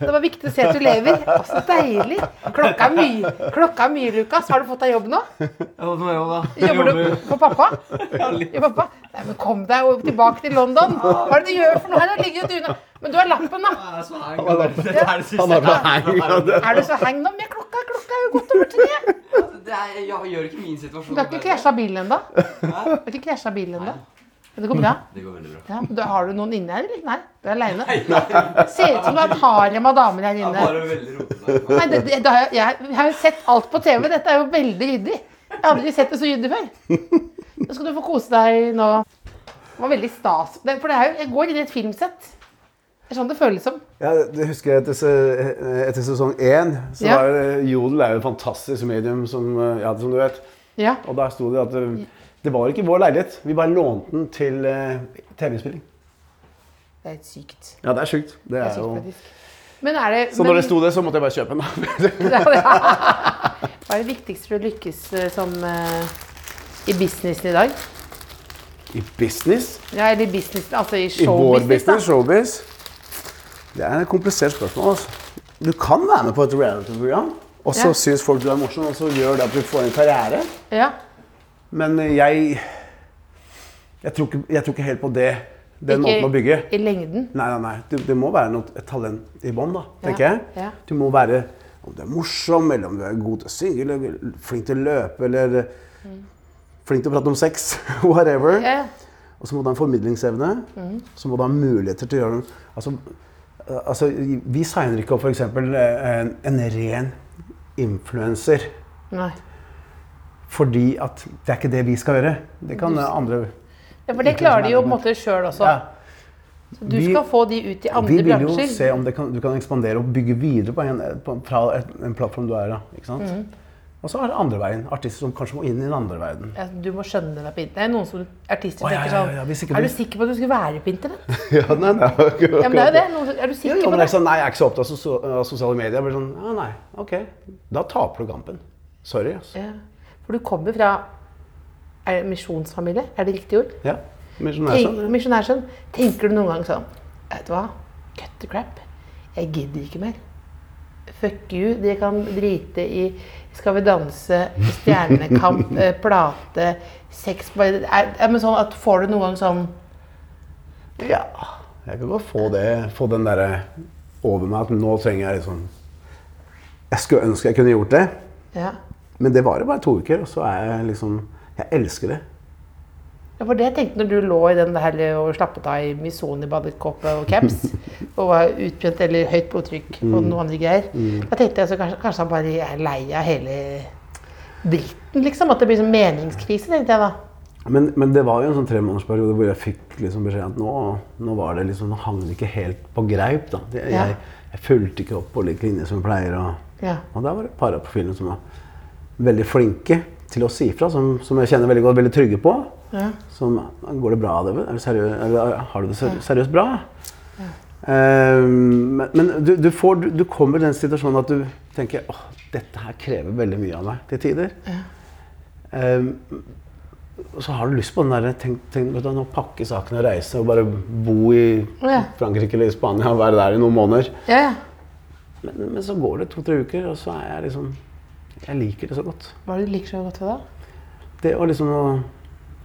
Speaker 3: Det var viktig å se at du lever. Å, så deilig. Klokka er mye, Klokka er mye, Lukas. Har du fått deg jobb nå?
Speaker 5: Ja, nå er jo da.
Speaker 3: Jobber du for pappa? Ja, pappa. Nei, men kom deg jo tilbake til London. Hva er det du gjør for noe her? Da ligger jo du unna. Men du har lappen, da.
Speaker 5: Dette er det siste.
Speaker 4: Han har på hei.
Speaker 3: Er du så hang nå med klokka? Klokka er jo godt over tre.
Speaker 5: Det er, jeg gjør ikke min situasjon
Speaker 3: Du har ikke
Speaker 5: bedre.
Speaker 3: krasja bilen ennå? Du har ikke krasjet bilen ennå? Men det går bra?
Speaker 5: Det går veldig bra.
Speaker 3: Ja, du, har du noen inne her, eller? Nei, du er aleine. Ser ut som du har et harem av damer her
Speaker 5: Det er
Speaker 3: inne.
Speaker 5: bare veldig rotete.
Speaker 3: Nei, det, det, det har jeg, jeg, jeg har jo sett alt på TV. Dette er jo veldig ryddig. Jeg har aldri sett det så ryddig før. Nå skal du få kose deg nå. Det var veldig stas. Det, for det er jo, jeg går inn i et filmsett. Det er sånn det føles som.
Speaker 4: Ja, det husker jeg etter, se- etter sesong én. Så
Speaker 3: Ja.
Speaker 4: var det- Jodel er jo et fantastisk medium, som, eh, ja, som du vet.
Speaker 3: Ja.
Speaker 4: Og der sto det at det, det var ikke vår leilighet. Vi bare lånte den til eh, TV-innspilling.
Speaker 3: Det er helt sykt.
Speaker 4: Ja, det er sjukt. Det
Speaker 3: Det
Speaker 4: er
Speaker 3: er sykt
Speaker 4: jo...
Speaker 3: faktisk. Men er det
Speaker 4: Så
Speaker 3: men-
Speaker 4: når det sto det, så måtte jeg bare kjøpe den.
Speaker 3: [LAUGHS] Ja, det Hva er det viktigste for å lykkes eh, som eh, i businessen i dag?
Speaker 4: [LAUGHS] I business?
Speaker 3: Ja, eller i businessen, altså i
Speaker 4: I vår
Speaker 3: showbusiness. da.
Speaker 4: business, showbiz? Det er et komplisert spørsmål. altså. Du kan være med på et reality-program, og så
Speaker 3: Ja.
Speaker 4: syns folk du er morsom, og så gjør det at du får en karriere.
Speaker 3: Ja.
Speaker 4: Men jeg Jeg tror ikke, jeg tror ikke helt på det. Den
Speaker 3: Ikke
Speaker 4: måten å bygge.
Speaker 3: I lengden.
Speaker 4: Nei, nei, nei. Det, det må være noe, et talent i bånn, da, tenker jeg.
Speaker 3: ja.
Speaker 4: Du må være om du er morsom, eller om du er god til å synge, eller flink til å løpe, eller flink til å prate om sex. [LAUGHS] Whatever.
Speaker 3: Mm. Ja, Mm. ja.
Speaker 4: Og så må du ha en formidlingsevne. Så må du ha muligheter til å gjøre noe. Altså, eh, altså, vi signer ikke opp f.eks. En, en ren influenser.
Speaker 3: Nei.
Speaker 4: Fordi at det er ikke det vi skal gjøre. Det kan eh, andre
Speaker 3: Ja, for det klarer de jo på en måte sjøl også.
Speaker 4: Ja.
Speaker 3: Du
Speaker 4: Vi-
Speaker 3: skal få de ut i
Speaker 4: Vi
Speaker 3: andre
Speaker 4: vil jo se
Speaker 3: bransjer.
Speaker 4: om det kan, du kan ekspandere og bygge videre på en, på, fra et, en plattform du er da. Ikke sant?
Speaker 3: Mm.
Speaker 4: Og så er det andre veien. Artister som kanskje må inn i den andre verden.
Speaker 3: Ja, du må skjønne deg på internett. Det er noen som artister
Speaker 4: Å, ja,
Speaker 3: tenker
Speaker 4: ja,
Speaker 3: sånn
Speaker 4: ja, ja, hvis ikke
Speaker 3: Er
Speaker 4: du-
Speaker 3: du sikker på at du skulle være på internett?
Speaker 4: [LAUGHS] Ja, nei, nei,
Speaker 3: Ja, men det er jo det. Noen, er du
Speaker 4: Jo,
Speaker 3: sikker
Speaker 4: jo,
Speaker 3: på det?
Speaker 4: men altså- jeg sa nei, jeg er ikke så opptatt av sosia- av sosiale medier. Jeg blir sånn, ja, nei, ok. Da taper du kampen. Sorry, altså.
Speaker 3: Ja. For du kommer fra er det misjonsfamilie, er det riktig ord?
Speaker 4: Ja, misjonær
Speaker 3: Tenk-
Speaker 4: sånn.
Speaker 3: Misjonærsønn. Tenker du noen gang sånn Vet du hva? Cut the crap. Jeg gidder ikke mer. Fuck you. De kan drite i Skal vi danse, Stjernekamp, eh, plate, sex bare- er, er, men sånn at Får du noen gang sånn
Speaker 4: Ja, jeg kan godt få, det, få den der eh, over meg at nå trenger jeg liksom... Jeg skulle ønske jeg kunne gjort det,
Speaker 3: Ja.
Speaker 4: men det varer bare to uker, og så er jeg liksom... Jeg elsker det.
Speaker 3: Ja, for det jeg tenkte når du lå i den der og slappet av i Misoni-badekåpe og caps, og var utbrent eller høyt blodtrykk og noen andre greier, da tenkte jeg så kanskje, kanskje han bare er lei av hele dritten, liksom. At det blir sånn meningskrise, tenkte jeg da.
Speaker 4: Men, men det var jo en sånn tremånedersperiode hvor jeg fikk liksom beskjed om at nå, nå var det liksom, nå hang det ikke helt på greip. Da. Jeg,
Speaker 3: Ja.
Speaker 4: jeg, jeg fulgte ikke opp på lik linje som jeg pleier. Og,
Speaker 3: Ja.
Speaker 4: og der var det et par av profilene som var veldig flinke til å si ifra, som, som jeg kjenner veldig godt, veldig trygge på.
Speaker 3: Ja.
Speaker 4: Som Går det bra? David? Er du seriø eller, har du det seri- seriøst bra? Ehm, men men du, du, får, du, du kommer i den situasjonen at du tenker åh, dette her krever veldig mye av meg til tider. Ehm, og så har du lyst på den der tenk, tenk, vet du, Nå pakke sakene og reise og bare bo i
Speaker 3: Ja.
Speaker 4: Frankrike eller Spania og være der i noen måneder.
Speaker 3: Ja, ja.
Speaker 4: Men, men så går det to-tre uker, og så er jeg liksom Jeg liker det så godt.
Speaker 3: Hva er det du liker så godt ved det?
Speaker 4: Det å liksom å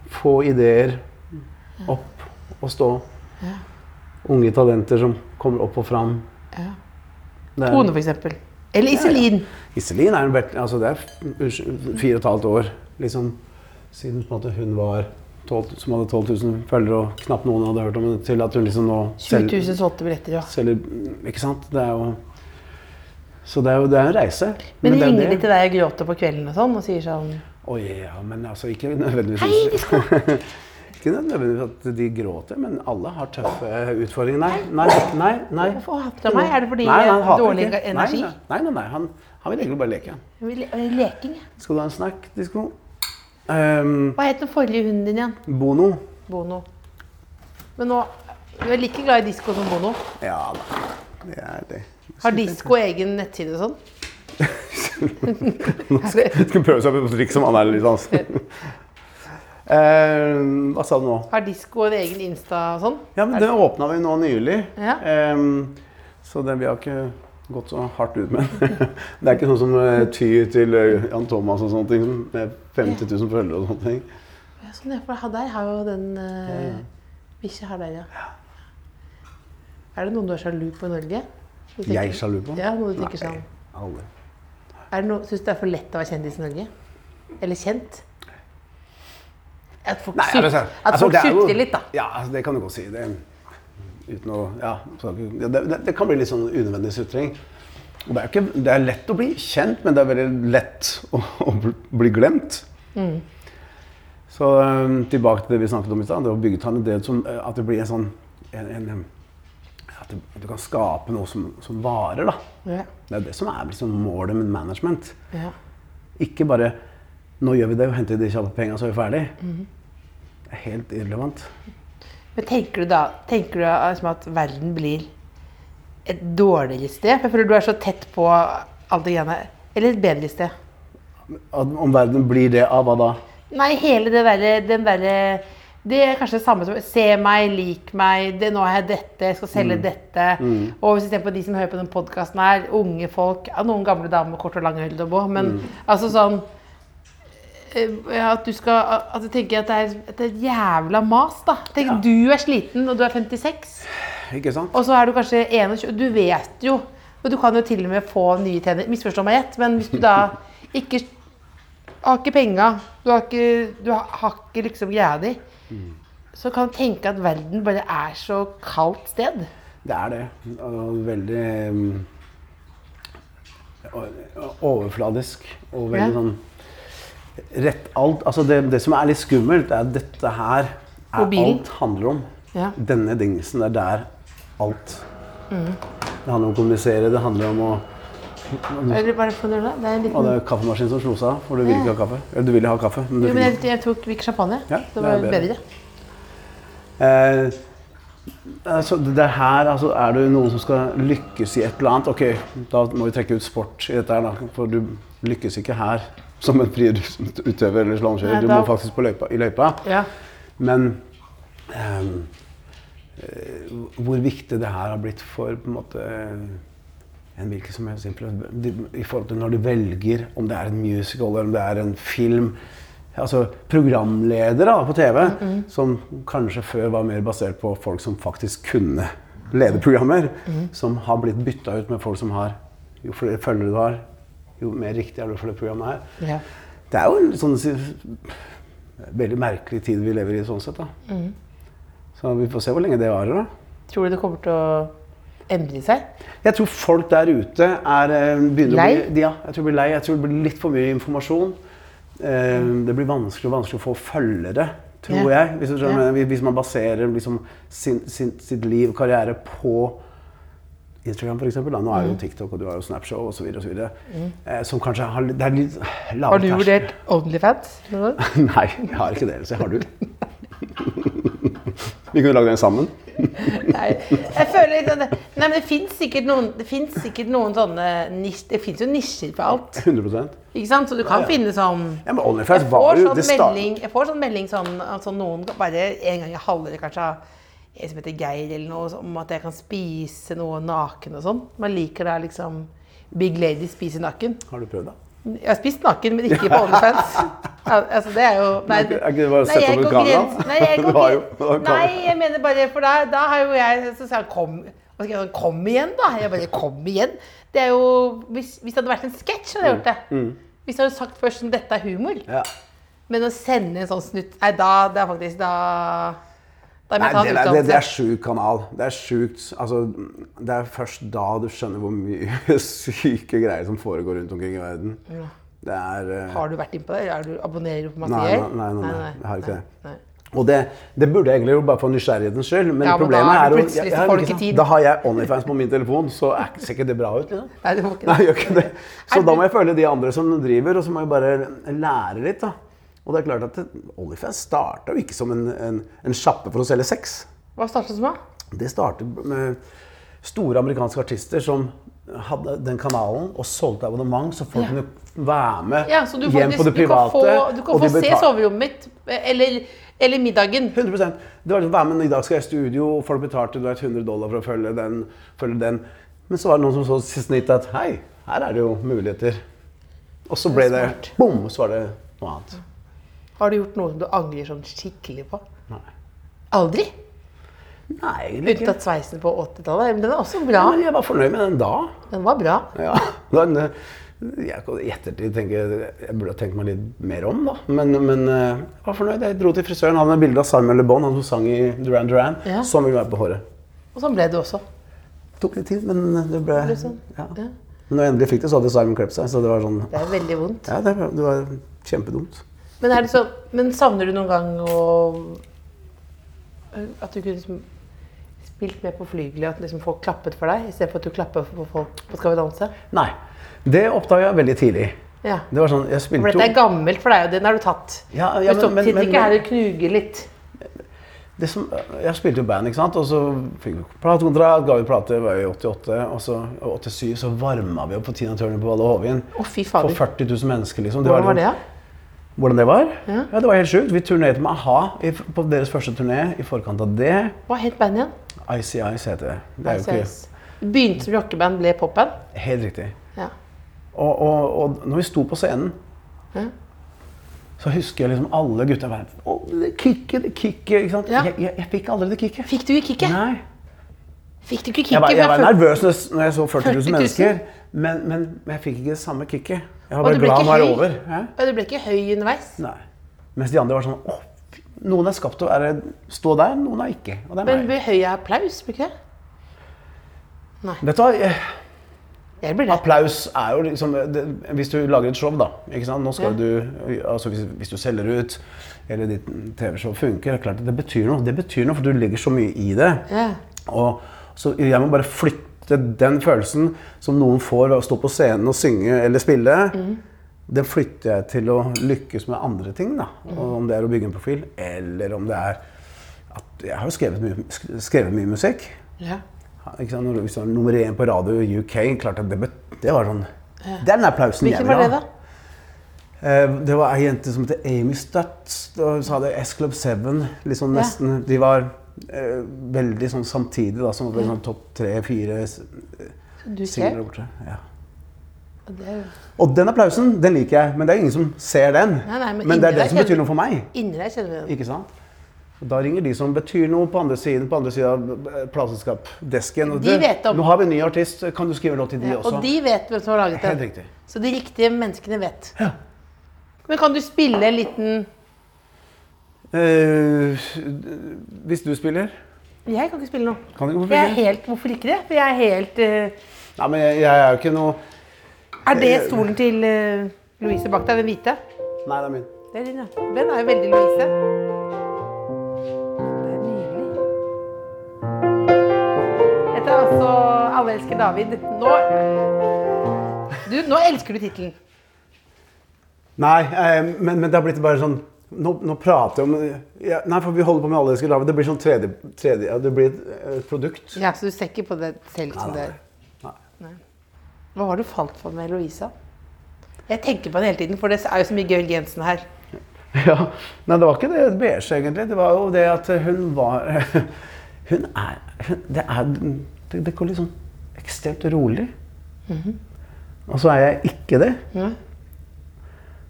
Speaker 4: få ideer opp og stå. Unge talenter som kommer opp og fram.
Speaker 3: Ja.
Speaker 4: Det er-
Speaker 3: Tone, for eksempel. Eller Iselin.
Speaker 4: Iselin er jo bert- altså det er f- unnskyld, fire og et halvt år liksom, siden på en måte, hun var 12, som hadde 12 000 følgere og knapt noen hadde hørt om henne, til at hun liksom nå
Speaker 3: 20
Speaker 4: selger-
Speaker 3: 000 solgte billetter, ja.
Speaker 4: selger Ikke sant? Det er jo Så det er jo det er en reise.
Speaker 3: Men
Speaker 4: det er
Speaker 3: ringer de
Speaker 4: det-
Speaker 3: til deg og gråter på kvelden og sånn, og sier sånn
Speaker 4: Å ja, men altså ikke nødvendigvis
Speaker 3: Hei, vi
Speaker 4: [LAUGHS] Ikke nødvendigvis at de gråter, men alle har tøffe utfordringer. Nei, nei, nei. nei.
Speaker 3: Hvorfor hater han meg? Er det fordi
Speaker 4: Nei, han
Speaker 3: jeg
Speaker 4: hater
Speaker 3: har dårlig
Speaker 4: ikke.
Speaker 3: energi?
Speaker 4: Nei, nei, nei, nei. Han, han vil egentlig bare leke. han.
Speaker 3: Jeg vil- jeg vil Leking, jeg.
Speaker 4: Skal du ha en snakk, Disko? Ehm,
Speaker 3: Hva het den forrige hunden din igjen?
Speaker 4: Bono.
Speaker 3: Bono. Men nå Du er like glad i disko som Bono.
Speaker 4: Ja da. Det er det. [LAUGHS]
Speaker 3: Har disko egen nettside og sånn? [LAUGHS]
Speaker 4: Skal prøve seg på et trikk som han er litt hans.
Speaker 3: [LAUGHS]
Speaker 4: Eh, hva sa du nå?
Speaker 3: Har disko en egen Insta og sånn?
Speaker 4: Ja, men Den åpna vi nå nylig.
Speaker 3: Ja.
Speaker 4: Ehm, så den, vi har ikke gått så hardt ut med den. [LAUGHS] Det er ikke sånn som eh, tyr til eh, Jan Thomas og sånne ting, som med 50 000 følgere og sånne ting.
Speaker 3: Ja, sånn, ja, for der har jo den uh, bikkja her der, ja. Er det noen du er sjalu på i Norge? Du tenker-
Speaker 4: Jeg er sjalu på den?
Speaker 3: Ja, noe du tenker sånn.
Speaker 4: Aldri.
Speaker 3: Er det noe, synes du det er for lett å være kjendis i Norge? Eller kjent? At folk
Speaker 4: Nei, altså,
Speaker 3: sukter at
Speaker 4: altså,
Speaker 3: folk
Speaker 4: det er jo-
Speaker 3: sukter litt, da.
Speaker 4: Ja, altså, det kan du godt si. Det, uten å, ja, så- ja, det, det, det kan bli litt sånn unødvendig sutring. Og det, er jo ikke, det er lett å bli kjent, men det er veldig lett å, å bli glemt.
Speaker 3: Mm.
Speaker 4: Så øhm, tilbake til det vi snakket om i stad. Det å bygge tann, det som, øh, at det blir en sånn en, en, øhm, At du, du kan skape noe som, som varer, da.
Speaker 3: Ja.
Speaker 4: Det er det som er liksom, målet med management.
Speaker 3: Ja.
Speaker 4: Ikke bare 'nå gjør vi det og henter de kjappe penga, så er vi ferdig'.
Speaker 3: Mhm.
Speaker 4: Det er helt irrelevant.
Speaker 3: Men tenker du da tenker du liksom at verden blir et dårligere sted? For jeg føler du er så tett på alt det greiene her. Eller et bedre sted?
Speaker 4: At, om verden blir det av hva da?
Speaker 3: Nei, hele det derre den derre det er kanskje det samme som se meg, lik meg, det, nå har jeg dette, jeg skal selge dette. Og hvis vi ser på de som hører på den podkasten her, unge folk, ja, noen gamle damer med kort og lang hølde og bå, men altså sånn eh, at du skal at du tenker at det er, at det er et jævla mas, da. Tenk, Du er sliten, og du er 56.
Speaker 4: Ikke sant?
Speaker 3: Og så er du kanskje 21, og du vet jo Og du kan jo til og med få nye tenner. Misforstå meg rett, men hvis du da ikke har ikke penga, du har ikke, du har- har ikke liksom greia di, så kan du tenke at verden bare er så kaldt sted.
Speaker 4: Det er det. Og veldig mm, o- overfladisk. Og veldig
Speaker 3: Ja.
Speaker 4: sånn Rett alt Altså, det, det som er litt skummelt, er at dette her er
Speaker 3: Mobilen.
Speaker 4: alt handler om.
Speaker 3: Ja.
Speaker 4: Denne dingsen er der alt.
Speaker 3: Mhm.
Speaker 4: Det handler om å kommunisere, det handler om å
Speaker 3: Eller bare for å gjøre det. Det er en
Speaker 4: Og det
Speaker 3: liten
Speaker 4: er kaffemaskinen som slo seg av, for du ville ikke ha kaffe. Eller du ville ha kaffe, men du
Speaker 3: jo, men jeg,
Speaker 4: fikk
Speaker 3: jeg tok ikke champagne.
Speaker 4: Ja,
Speaker 3: det var
Speaker 4: det er bedre.
Speaker 3: bedre.
Speaker 4: Eh, altså, det det her, altså, er det noen som skal lykkes i et eller annet, ok, da må vi trekke ut sport i dette her, da, for du lykkes ikke her som en friidrettsutøver eller
Speaker 3: Nei,
Speaker 4: slalåmkjører. Du
Speaker 3: da-
Speaker 4: må faktisk på løypa, i løypa.
Speaker 3: Ja.
Speaker 4: Men ehm, eh, hvor viktig det her har blitt for på en måte en hvilken som helst influenser de- i forhold til når du velger om det er en musical eller om det er en film. Altså programledere da, på TV som kanskje før var mer basert på folk som faktisk kunne lede programmer, som har blitt bytta ut med folk som har Jo flere følgere du har, jo mer riktig er du for det programmet her.
Speaker 3: Ja.
Speaker 4: Det er jo en sånn veldig merkelig tid vi lever i sånn sett, da.
Speaker 3: Mm.
Speaker 4: Så vi får se hvor lenge det varer, da.
Speaker 3: Tror du det kommer til å endre seg?
Speaker 4: Jeg tror folk der ute er eh, begynner
Speaker 3: Lei?
Speaker 4: å bli Ja, jeg tror de blir lei. Jeg tror det blir litt for mye informasjon. Eh, Det blir vanskelig og vanskelig å få følgere, tror
Speaker 3: Mm. Ja.
Speaker 4: jeg. Hvis, du skjønner, hva jeg mener. hvis man baserer liksom sin, sin, sitt liv og karriere på Instagram, for eksempel, da. Nå er
Speaker 3: Mm.
Speaker 4: det jo TikTok, og du har jo Snapshow osv. osv. Eh, som kanskje har litt- Det er litt lavere
Speaker 3: Har du
Speaker 4: terskel.
Speaker 3: vurdert Onlyfans? Noe?
Speaker 4: [LAUGHS] Nei, jeg har ikke det. Så jeg har du. [LAUGHS] Vi kunne lagd den sammen.
Speaker 3: Nei, jeg føler litt at det, Nei, men det fins sikkert noen Det finnes sikkert noen sånne nisj- Det fins jo nisjer på alt.
Speaker 4: 100
Speaker 3: Ikke sant? Så du kan finne sånn
Speaker 4: ja, men OnlyFans
Speaker 3: jeg
Speaker 4: var
Speaker 3: får,
Speaker 4: jo
Speaker 3: sånn
Speaker 4: det sta-
Speaker 3: melding, jeg får sånn melding sånn altså noen bare en gang i halvåret kanskje av en som heter Geir eller noe, om at jeg kan spise noe naken og sånn. Man liker da liksom Big Lady spiser naken.
Speaker 4: Har du prøvd det?
Speaker 3: Jeg har spist naken, men ikke på OnlyFans. Al- altså, det er jo Nei,
Speaker 4: Er ikke- er ikke det bare å
Speaker 3: nei,
Speaker 4: sette
Speaker 3: jeg
Speaker 4: opp et
Speaker 3: går ikke
Speaker 4: kamera?
Speaker 3: redd- Nei,
Speaker 4: [LAUGHS]
Speaker 3: jeg,
Speaker 4: Det
Speaker 3: går
Speaker 4: var
Speaker 3: ikke-
Speaker 4: jo- det var jo kamera.
Speaker 3: nei, jeg mener bare For da, da har jo jeg Så sa han kom hva skal jeg si, Kom igjen, da. Jeg bare Kom igjen. Det er jo Hvis, hvis det hadde vært en sketsj, hadde jeg gjort det. Hvis jeg hadde sagt først sånn Dette er humor.
Speaker 4: Mm, Ja.
Speaker 3: Men å sende en sånn snutt Nei, da Det er faktisk Da Da må
Speaker 4: Nei,
Speaker 3: jeg ta
Speaker 4: det,
Speaker 3: en
Speaker 4: er- det, det er
Speaker 3: utdannelse.
Speaker 4: sjuk kanal. Det er sjukt. Altså, det er først da du skjønner hvor mye [LAUGHS] syke greier som foregår rundt omkring i verden. Det er eh,
Speaker 3: Har du vært inne på det? Er du, abonnerer du på masse
Speaker 4: Nei,
Speaker 3: greier?
Speaker 4: nei, nei, nei, nei, jeg har ikke det.
Speaker 3: nei, nei.
Speaker 4: Og det, det burde jeg egentlig gjort bare for nysgjerrighetens skyld,
Speaker 3: Ja, men
Speaker 4: men,
Speaker 3: da er
Speaker 4: problemet
Speaker 3: det
Speaker 4: er, jo-
Speaker 3: plutselig så
Speaker 4: ja, ja,
Speaker 3: får du
Speaker 4: ikke
Speaker 3: ikke
Speaker 4: sant?
Speaker 3: tid.
Speaker 4: Da har jeg OnlyFans på min telefon, så er, ser ikke det bra ut, liksom.
Speaker 3: Nei, det var ikke det.
Speaker 4: Nei, jeg gjør ikke det. Så
Speaker 3: Er
Speaker 4: da
Speaker 3: du-
Speaker 4: må jeg følge de andre som driver, og så må jeg bare lære litt, da. Og det er klart at det- OnlyFans starta jo ikke som en, en, en sjappe for å selge sex.
Speaker 3: Hva startet det som? da?
Speaker 4: Det startet med store amerikanske artister som hadde den kanalen og solgte abonnement, så folk
Speaker 3: Ja.
Speaker 4: kunne være med
Speaker 3: Ja, så du,
Speaker 4: hjem
Speaker 3: faktisk,
Speaker 4: på
Speaker 3: du
Speaker 4: det
Speaker 3: kan
Speaker 4: private.
Speaker 3: få, du kan få
Speaker 4: og de
Speaker 3: se
Speaker 4: betal-
Speaker 3: soverommet mitt, eller, eller middagen.
Speaker 4: 100 Det var liksom, være med, men I dag skal jeg i studio, og folk betalte du vet, 100 dollar for å følge den, følge den. Men så var det noen som så siste nytt at hei, her er det jo muligheter. Og så ble det bom, så var det noe annet.
Speaker 3: Har du gjort noe som du angrer sånn skikkelig på?
Speaker 4: Nei.
Speaker 3: Aldri?
Speaker 4: Nei, egentlig ikke.
Speaker 3: Unntatt sveisen på 80-tallet. Men den er også bra.
Speaker 4: Ja, men jeg var fornøyd med den da.
Speaker 3: Den var bra.
Speaker 4: Ja. Den, eh, jeg kan i ettertid tenke jeg burde ha tenkt meg litt mer om, da. Men, men eh, jeg var fornøyd. Jeg dro til frisøren, hadde et bilde av Simon Le Bon, han som sang i Duran Duran.
Speaker 3: Ja.
Speaker 4: Sånn ville være på håret.
Speaker 3: Og sånn ble det også.
Speaker 4: tok litt tid, men det ble
Speaker 3: Ble sånn.
Speaker 4: ja.
Speaker 3: Ja.
Speaker 4: Men når jeg endelig fikk det, så hadde Simon Klepp seg. Så det var sånn
Speaker 3: Det er veldig vondt.
Speaker 4: Ja, det var, det var kjempedumt.
Speaker 3: Men, er det sånn, men savner du noen gang å At du kunne liksom spilt mer på flygelet, at liksom folk klappet for deg, istedenfor at du klapper for folk på Skal vi danse?
Speaker 4: Nei. Det oppdaga jeg veldig tidlig.
Speaker 3: Ja.
Speaker 4: Det var sånn, jeg
Speaker 3: For
Speaker 4: spilte
Speaker 3: dette
Speaker 4: jo
Speaker 3: er gammelt for deg, og den har du tatt.
Speaker 4: Ja, ja,
Speaker 3: men,
Speaker 4: men- men- men-
Speaker 3: ikke her og knuger litt.
Speaker 4: det som, Jeg spilte jo band, ikke sant? og så fikk vi platekontrakt, ga ut plate, var jo i 88. Og så i 87 så varma vi opp på Tina Turner på Valle Hovin.
Speaker 3: Å, fy
Speaker 4: For
Speaker 3: fader.
Speaker 4: 40 000 mennesker, liksom. Det
Speaker 3: Hvordan var
Speaker 4: liksom-
Speaker 3: det, da?
Speaker 4: Hvordan det var? Ja. Det var helt sjukt. Vi turnerte med a-ha i- på deres første turné. I forkant av det
Speaker 3: Hva het bandet igjen?
Speaker 4: ICIs heter det. Det er jo ikke
Speaker 3: ICS. Begynte som rockeband, ble popband?
Speaker 4: helt riktig.
Speaker 3: Ja.
Speaker 4: Og, og, og når vi sto på scenen,
Speaker 3: Ja.
Speaker 4: så husker jeg liksom alle gutta var «Å, det Kicket, det kicket. Ikke sant?
Speaker 3: Ja.
Speaker 4: Jeg, jeg, jeg fikk aldri det kicket.
Speaker 3: Fikk du ikke kicket?
Speaker 4: Nei.
Speaker 3: Fikk du ikke kicket?
Speaker 4: Jeg var,
Speaker 3: For
Speaker 4: jeg var
Speaker 3: følte-
Speaker 4: nervøs når jeg- når jeg så 40 000
Speaker 3: 40 000.
Speaker 4: mennesker, men, men, men jeg fikk ikke det samme kicket. Jeg
Speaker 3: Og
Speaker 4: var
Speaker 3: du
Speaker 4: bare
Speaker 3: ble
Speaker 4: glad
Speaker 3: ikke
Speaker 4: nå er det
Speaker 3: høy?
Speaker 4: over. Hæ?
Speaker 3: Ja, Du ble ikke høy underveis?
Speaker 4: Nei. Mens de andre var sånn Å, fy- noen er skapt til å være, stå der, noen er ikke. Og det er
Speaker 3: Men
Speaker 4: meg.
Speaker 3: blir høy av applaus, blir ikke det?
Speaker 4: Vet du hva? jeg-
Speaker 3: Jeg blir det.
Speaker 4: Applaus er jo liksom det, Hvis du lager et show, da. Ikke sant? Nå skal
Speaker 3: Ja.
Speaker 4: du, altså hvis, hvis du selger ut, eller ditt TV-show funker, det er klart at det betyr noe. Det betyr noe, for du legger så mye i det.
Speaker 3: Ja.
Speaker 4: Og, så jeg må bare flytte den følelsen som noen får ved å stå på scenen og synge eller spille.
Speaker 3: Mm.
Speaker 4: Den flytter jeg til å lykkes med andre ting. da.
Speaker 3: Mm.
Speaker 4: Og om det er å bygge en profil, eller om det er at Jeg har jo skrevet mye, sk- skrevet mye musikk.
Speaker 3: Ja.
Speaker 4: Ja, Ikke sant? Når- Hvis det var nummer én på radio i UK, klart at det, bet- det var sånn Det er den applausen jeg
Speaker 3: Hvilken
Speaker 4: vil
Speaker 3: var det,
Speaker 4: ha.
Speaker 3: da?
Speaker 4: Eh, Det var ei jente som het Amy Stutz. Og så hadde S Club 7 liksom
Speaker 3: Ja.
Speaker 4: nesten De var eh, veldig sånn samtidig, da, som var sånn topp tre-fire
Speaker 3: Du
Speaker 4: singler der
Speaker 3: skrev?
Speaker 4: borte. Ja.
Speaker 3: Og det er jo-
Speaker 4: Og den applausen, den liker jeg, men det er ingen som ser den.
Speaker 3: Nei, nei, men
Speaker 4: men det
Speaker 3: inni
Speaker 4: er
Speaker 3: deg
Speaker 4: den som
Speaker 3: kjenner-
Speaker 4: betyr noe for meg.
Speaker 3: Inni deg kjenner du den.
Speaker 4: Ikke sant? Og Da ringer de som betyr noe på andre siden på andre siden av eh, plateselskapdesken. og
Speaker 3: De
Speaker 4: det-
Speaker 3: vet om-
Speaker 4: Nå har vi en ny artist, kan du skrive en låt til de
Speaker 3: Ja,
Speaker 4: også?
Speaker 3: og de vet hvem som har laget
Speaker 4: Helt
Speaker 3: den.
Speaker 4: riktig.
Speaker 3: Så de riktige menneskene vet. Men kan du spille en liten
Speaker 4: Eh, hvis du spiller,
Speaker 3: Jeg kan ikke spille noe.
Speaker 4: kan du ikke få
Speaker 3: Jeg er
Speaker 4: spille?
Speaker 3: helt, hvorfor ikke det? For jeg er helt eh,
Speaker 4: Nei, men jeg, jeg er jo ikke noe
Speaker 3: Er det stolen til eh, Louise bak deg, den hvite?
Speaker 4: Nei, det er min.
Speaker 3: Det er din, ja. Den er jo veldig Louise. Det er nydelig. Dette er altså Alle elsker David. Nå Du, nå elsker du tittelen.
Speaker 4: Nei, eh, men, men det har blitt bare sånn nå, nå prater jeg om ja, Nei, for vi holder på med alle elsker David. Det blir sånn tredje, tredje ja, Det blir et, et produkt.
Speaker 3: Ja, så du ser ikke på det selv som det
Speaker 4: Nei,
Speaker 3: er.
Speaker 4: nei.
Speaker 3: Hva har du falt for med Louisa? Jeg tenker på det hele tiden, for det er jo så mye Georg Jensen her.
Speaker 4: [LAUGHS] Ja, Nei, det var ikke det beige, egentlig. Det var jo det at hun var [LAUGHS] Hun er hun, Det er det, det går litt sånn ekstremt rolig.
Speaker 3: Mhm.
Speaker 4: Og så er jeg ikke det.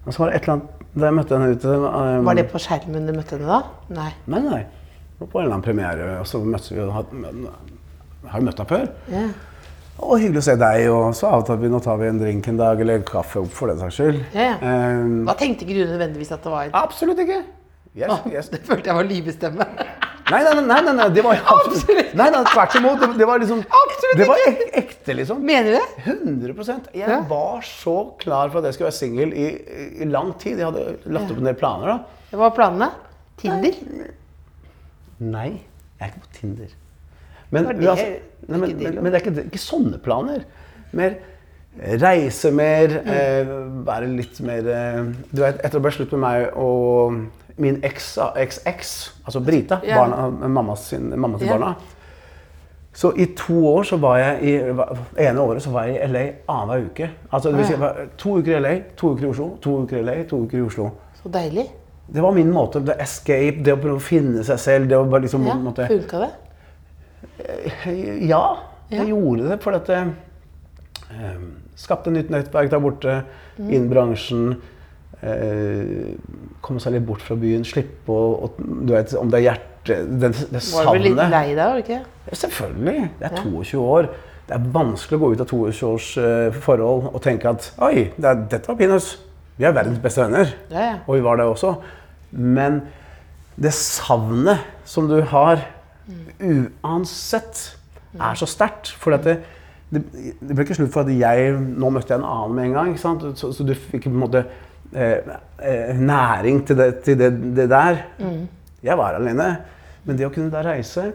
Speaker 4: Og så var det et eller annet Da jeg møtte henne ute um,
Speaker 3: Var det på skjermen du møtte henne da? Nei.
Speaker 4: Nei, nei. Det var På en eller annen premiere, og så møttes vi og hadde- men- Har jo møtt henne før.
Speaker 3: Ja.
Speaker 4: Og hyggelig å se deg, og så avtalte vi nå tar vi en drink en dag, eller kaffe opp for den saks skyld.
Speaker 3: Ja, ja.
Speaker 4: Um,
Speaker 3: Da tenkte ikke du nødvendigvis at det var en
Speaker 4: absolutt ikke. Jeg, jeg,
Speaker 3: Det følte jeg var lyvestemme.
Speaker 4: Nei, nei, nei, nei, nei, det var
Speaker 3: [LAUGHS]
Speaker 4: absolutt
Speaker 3: Absolutt.
Speaker 4: Nei, nei, tvert imot. Det, det var liksom
Speaker 3: Absolutt
Speaker 4: Det var
Speaker 3: ikke.
Speaker 4: ek, ekte, liksom.
Speaker 3: Mener du det?
Speaker 4: 100 Jeg
Speaker 3: Ja.
Speaker 4: var så klar for at jeg skulle være singel i, i- i lang tid. Jeg hadde lagt opp en del planer, da.
Speaker 3: Hva var planene? Tinder?
Speaker 4: Nei, jeg er ikke på Tinder. Men,
Speaker 3: Var det
Speaker 4: uansett-
Speaker 3: ikke
Speaker 4: nei, men,
Speaker 3: det,
Speaker 4: men,
Speaker 3: da?
Speaker 4: men det er ikke, det er ikke sånne planer. Mer reise
Speaker 3: Mm.
Speaker 4: mer, eh, være litt mer eh, Du vet, etter det ble slutt med meg og min eks, XX, altså Brita,
Speaker 3: Ja.
Speaker 4: barna, mamma, sin, mamma til
Speaker 3: Ja.
Speaker 4: barna Så i to år så var jeg i ene året så var jeg i LA annenhver uke. Altså, det vil si, jeg var to uker i LA, to uker i Oslo, to uker i LA, to uker i Oslo.
Speaker 3: Så deilig.
Speaker 4: Det var min måte. Det escape, det å prøve å finne seg selv. det å bare liksom...
Speaker 3: Ja,
Speaker 4: måtte,
Speaker 3: Funka det?
Speaker 4: ja, jeg
Speaker 3: Ja.
Speaker 4: gjorde det fordi at jeg ehm, skapte nytt nettverk der borte,
Speaker 3: Mm.
Speaker 4: innen bransjen. eh, komme seg litt bort fra byen, slippe å å- Du vet om det er hjerte... Det, det
Speaker 3: Var du litt
Speaker 4: savnet.
Speaker 3: lei deg, var du ikke?
Speaker 4: Ja, Selvfølgelig. Det er 22 år. Det er vanskelig å gå ut av 22 års eh, forhold og tenke at oi, det er, dette var pinus. Vi er verdens beste venner.
Speaker 3: Ja, ja.
Speaker 4: Og vi var det også. Men det savnet som du har
Speaker 3: Mm.
Speaker 4: uansett, er så sterkt. For at det, det, det ble ikke slutt for at jeg Nå møtte jeg en annen med en gang. Ikke sant? Så, så du fikk på en måte eh, eh, næring til det, til det, det der.
Speaker 3: Mm.
Speaker 4: Jeg var alene. Men det å kunne da reise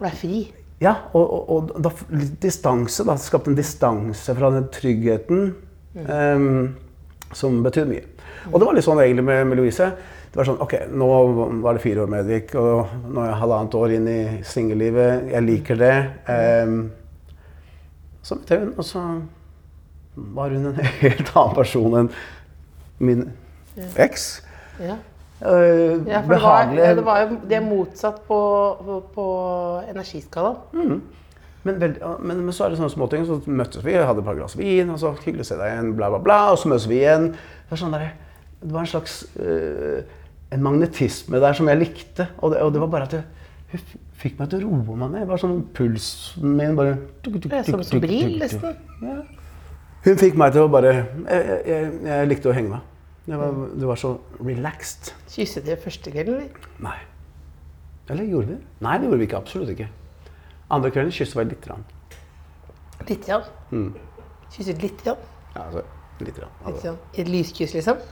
Speaker 3: Ble fri.
Speaker 4: ja, og, og, og da, f- litt distanse, da. Skapte en distanse fra den tryggheten
Speaker 3: Mm.
Speaker 4: em, som betydde mye. Og det var litt sånn egentlig med, med Louise. Det var sånn, ok, Nå var det fire år Medvik, og nå er jeg halvannet år inn i singellivet. Jeg liker det. em. så møtte jeg hun, og så var hun en [LAUGHS] helt annen person enn min eks.
Speaker 3: Ja.
Speaker 4: Eh,
Speaker 3: Ja, for det var, ja, det var jo det er motsatt på, på, på energiskalaen.
Speaker 4: Men, vel, ja, men, men så er det sånne småting. Så møttes vi, hadde et par glass vin, og så hyggelig å se deg igjen, bla, bla, bla. Og så møtes vi igjen. Det var, sånn der, det var en slags øh, en magnetisme der som jeg likte. Og det, og det var bare at det, hun f- fikk meg til å roe meg ned. Det var sånn pulsen min bare tuk, tuk,
Speaker 3: Det er Som
Speaker 4: tuk, tuk,
Speaker 3: sobril,
Speaker 4: tuk, tuk.
Speaker 3: nesten.
Speaker 4: Hun fikk meg til å bare Jeg, jeg, jeg likte å henge meg. Det var, det var så relaxed.
Speaker 3: Kysset dere første kvelden, eller?
Speaker 4: Nei. Eller gjorde vi det? Nei, det gjorde vi ikke. Absolutt ikke. Andre kvelden kysset vi litt. Rann.
Speaker 3: Litt grann.
Speaker 4: Mm.
Speaker 3: Kysset litt grann.
Speaker 4: Ja, altså, litt rann. Altså.
Speaker 3: Litt sånn. Et lyskyss, liksom.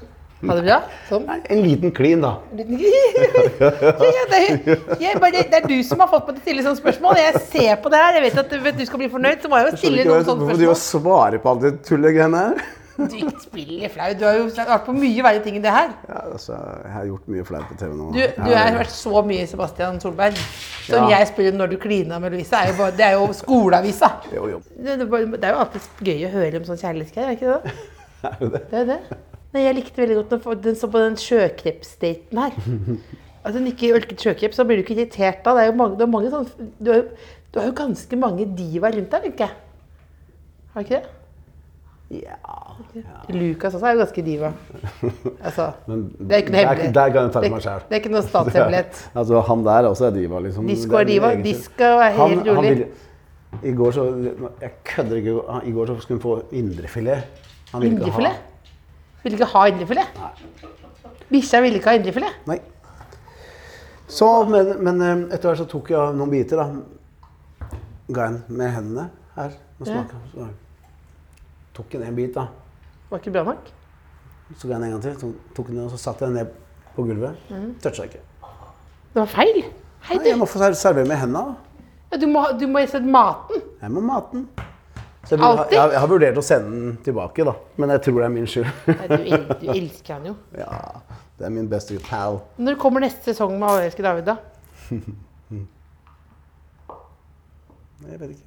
Speaker 3: Ha det bra? Sånn.
Speaker 4: Nei, en liten klin, da.
Speaker 3: En liten- [LAUGHS] ja, det, er- jeg bare, det er du som har fått meg til å stille sånne spørsmål. Jeg ser på det her. Jeg vet at du, vet du skal bli fornøyd, så må jeg jo stille noen sånne spørsmål.
Speaker 4: svare på alle de tullegreiene her?
Speaker 3: Du ikke spiller flau. Du har jo vært på mye verre ting enn det her.
Speaker 4: Ja, altså, jeg har gjort mye flaut på TV nå.
Speaker 3: Du, du har vært så mye Sebastian Solberg. Som
Speaker 4: Ja.
Speaker 3: jeg spør om når du klina med Louise. Er jo bare, det er jo skoleavisa.
Speaker 4: Jo, jo.
Speaker 3: Det, det er bare- det er jo alltid gøy å høre om sånn kjærlighetsgreier, er det ikke det?
Speaker 4: Er jo det.
Speaker 3: Det er jo det. Men jeg likte veldig godt når folk- den så på den sjøkrepsdaten her. At hun ikke ølket sjøkreps, så blir du ikke irritert av. Det er jo mange, det er mange sånne, du, har, jo- du har jo ganske mange divaer rundt deg, tenker jeg. Har du ikke det?
Speaker 4: Ja.
Speaker 3: Lukas også er jo ganske diva. Altså,
Speaker 4: Men
Speaker 3: det er ikke noe
Speaker 4: der-
Speaker 3: hemmelighet.
Speaker 4: der kan jeg
Speaker 3: Det
Speaker 4: ta
Speaker 3: er-
Speaker 4: til meg selv.
Speaker 3: Det er ikke noe statshemmelighet.
Speaker 4: [LAUGHS] Altså, han der også er diva, liksom.
Speaker 3: Disco
Speaker 4: Det
Speaker 3: er
Speaker 4: min
Speaker 3: diva.
Speaker 4: egen skyld.
Speaker 3: Disco er
Speaker 4: Han-
Speaker 3: helt
Speaker 4: han
Speaker 3: rolig.
Speaker 4: ville- I går så Jeg kødder ikke. han- I går så skulle hun få indrefilet. Han ville ikke ha-
Speaker 3: Indrefilet? Vil ikke ha indrefilet? Bikkja ville ikke ha indrefilet.
Speaker 4: Nei. Så, men, men eh, etter hvert så tok jeg av noen biter, da. Ga en med hendene her. Og
Speaker 3: Ja.
Speaker 4: smaka. Så tok jeg en bit, da.
Speaker 3: Var ikke bra nok.
Speaker 4: Så ga jeg den en gang til, så tok den den, og så satte jeg den ned på gulvet.
Speaker 3: Mm.
Speaker 4: Toucha ikke.
Speaker 3: Det var feil. Hei,
Speaker 4: Nei, jeg
Speaker 3: du.
Speaker 4: må få ser- servere med hendene. da.
Speaker 3: Ja, du må, du må sette maten.
Speaker 4: Jeg må mate den. Så jeg, burde ha,
Speaker 3: Alltid?
Speaker 4: jeg, jeg har vurdert å sende den tilbake, da. Men jeg tror det er min skyld. [LAUGHS]
Speaker 3: Nei, du, el du elsker han jo.
Speaker 4: ja, det er min beste pal.
Speaker 3: Når kommer neste sesong med Allelske David, da?
Speaker 4: Jeg vet ikke.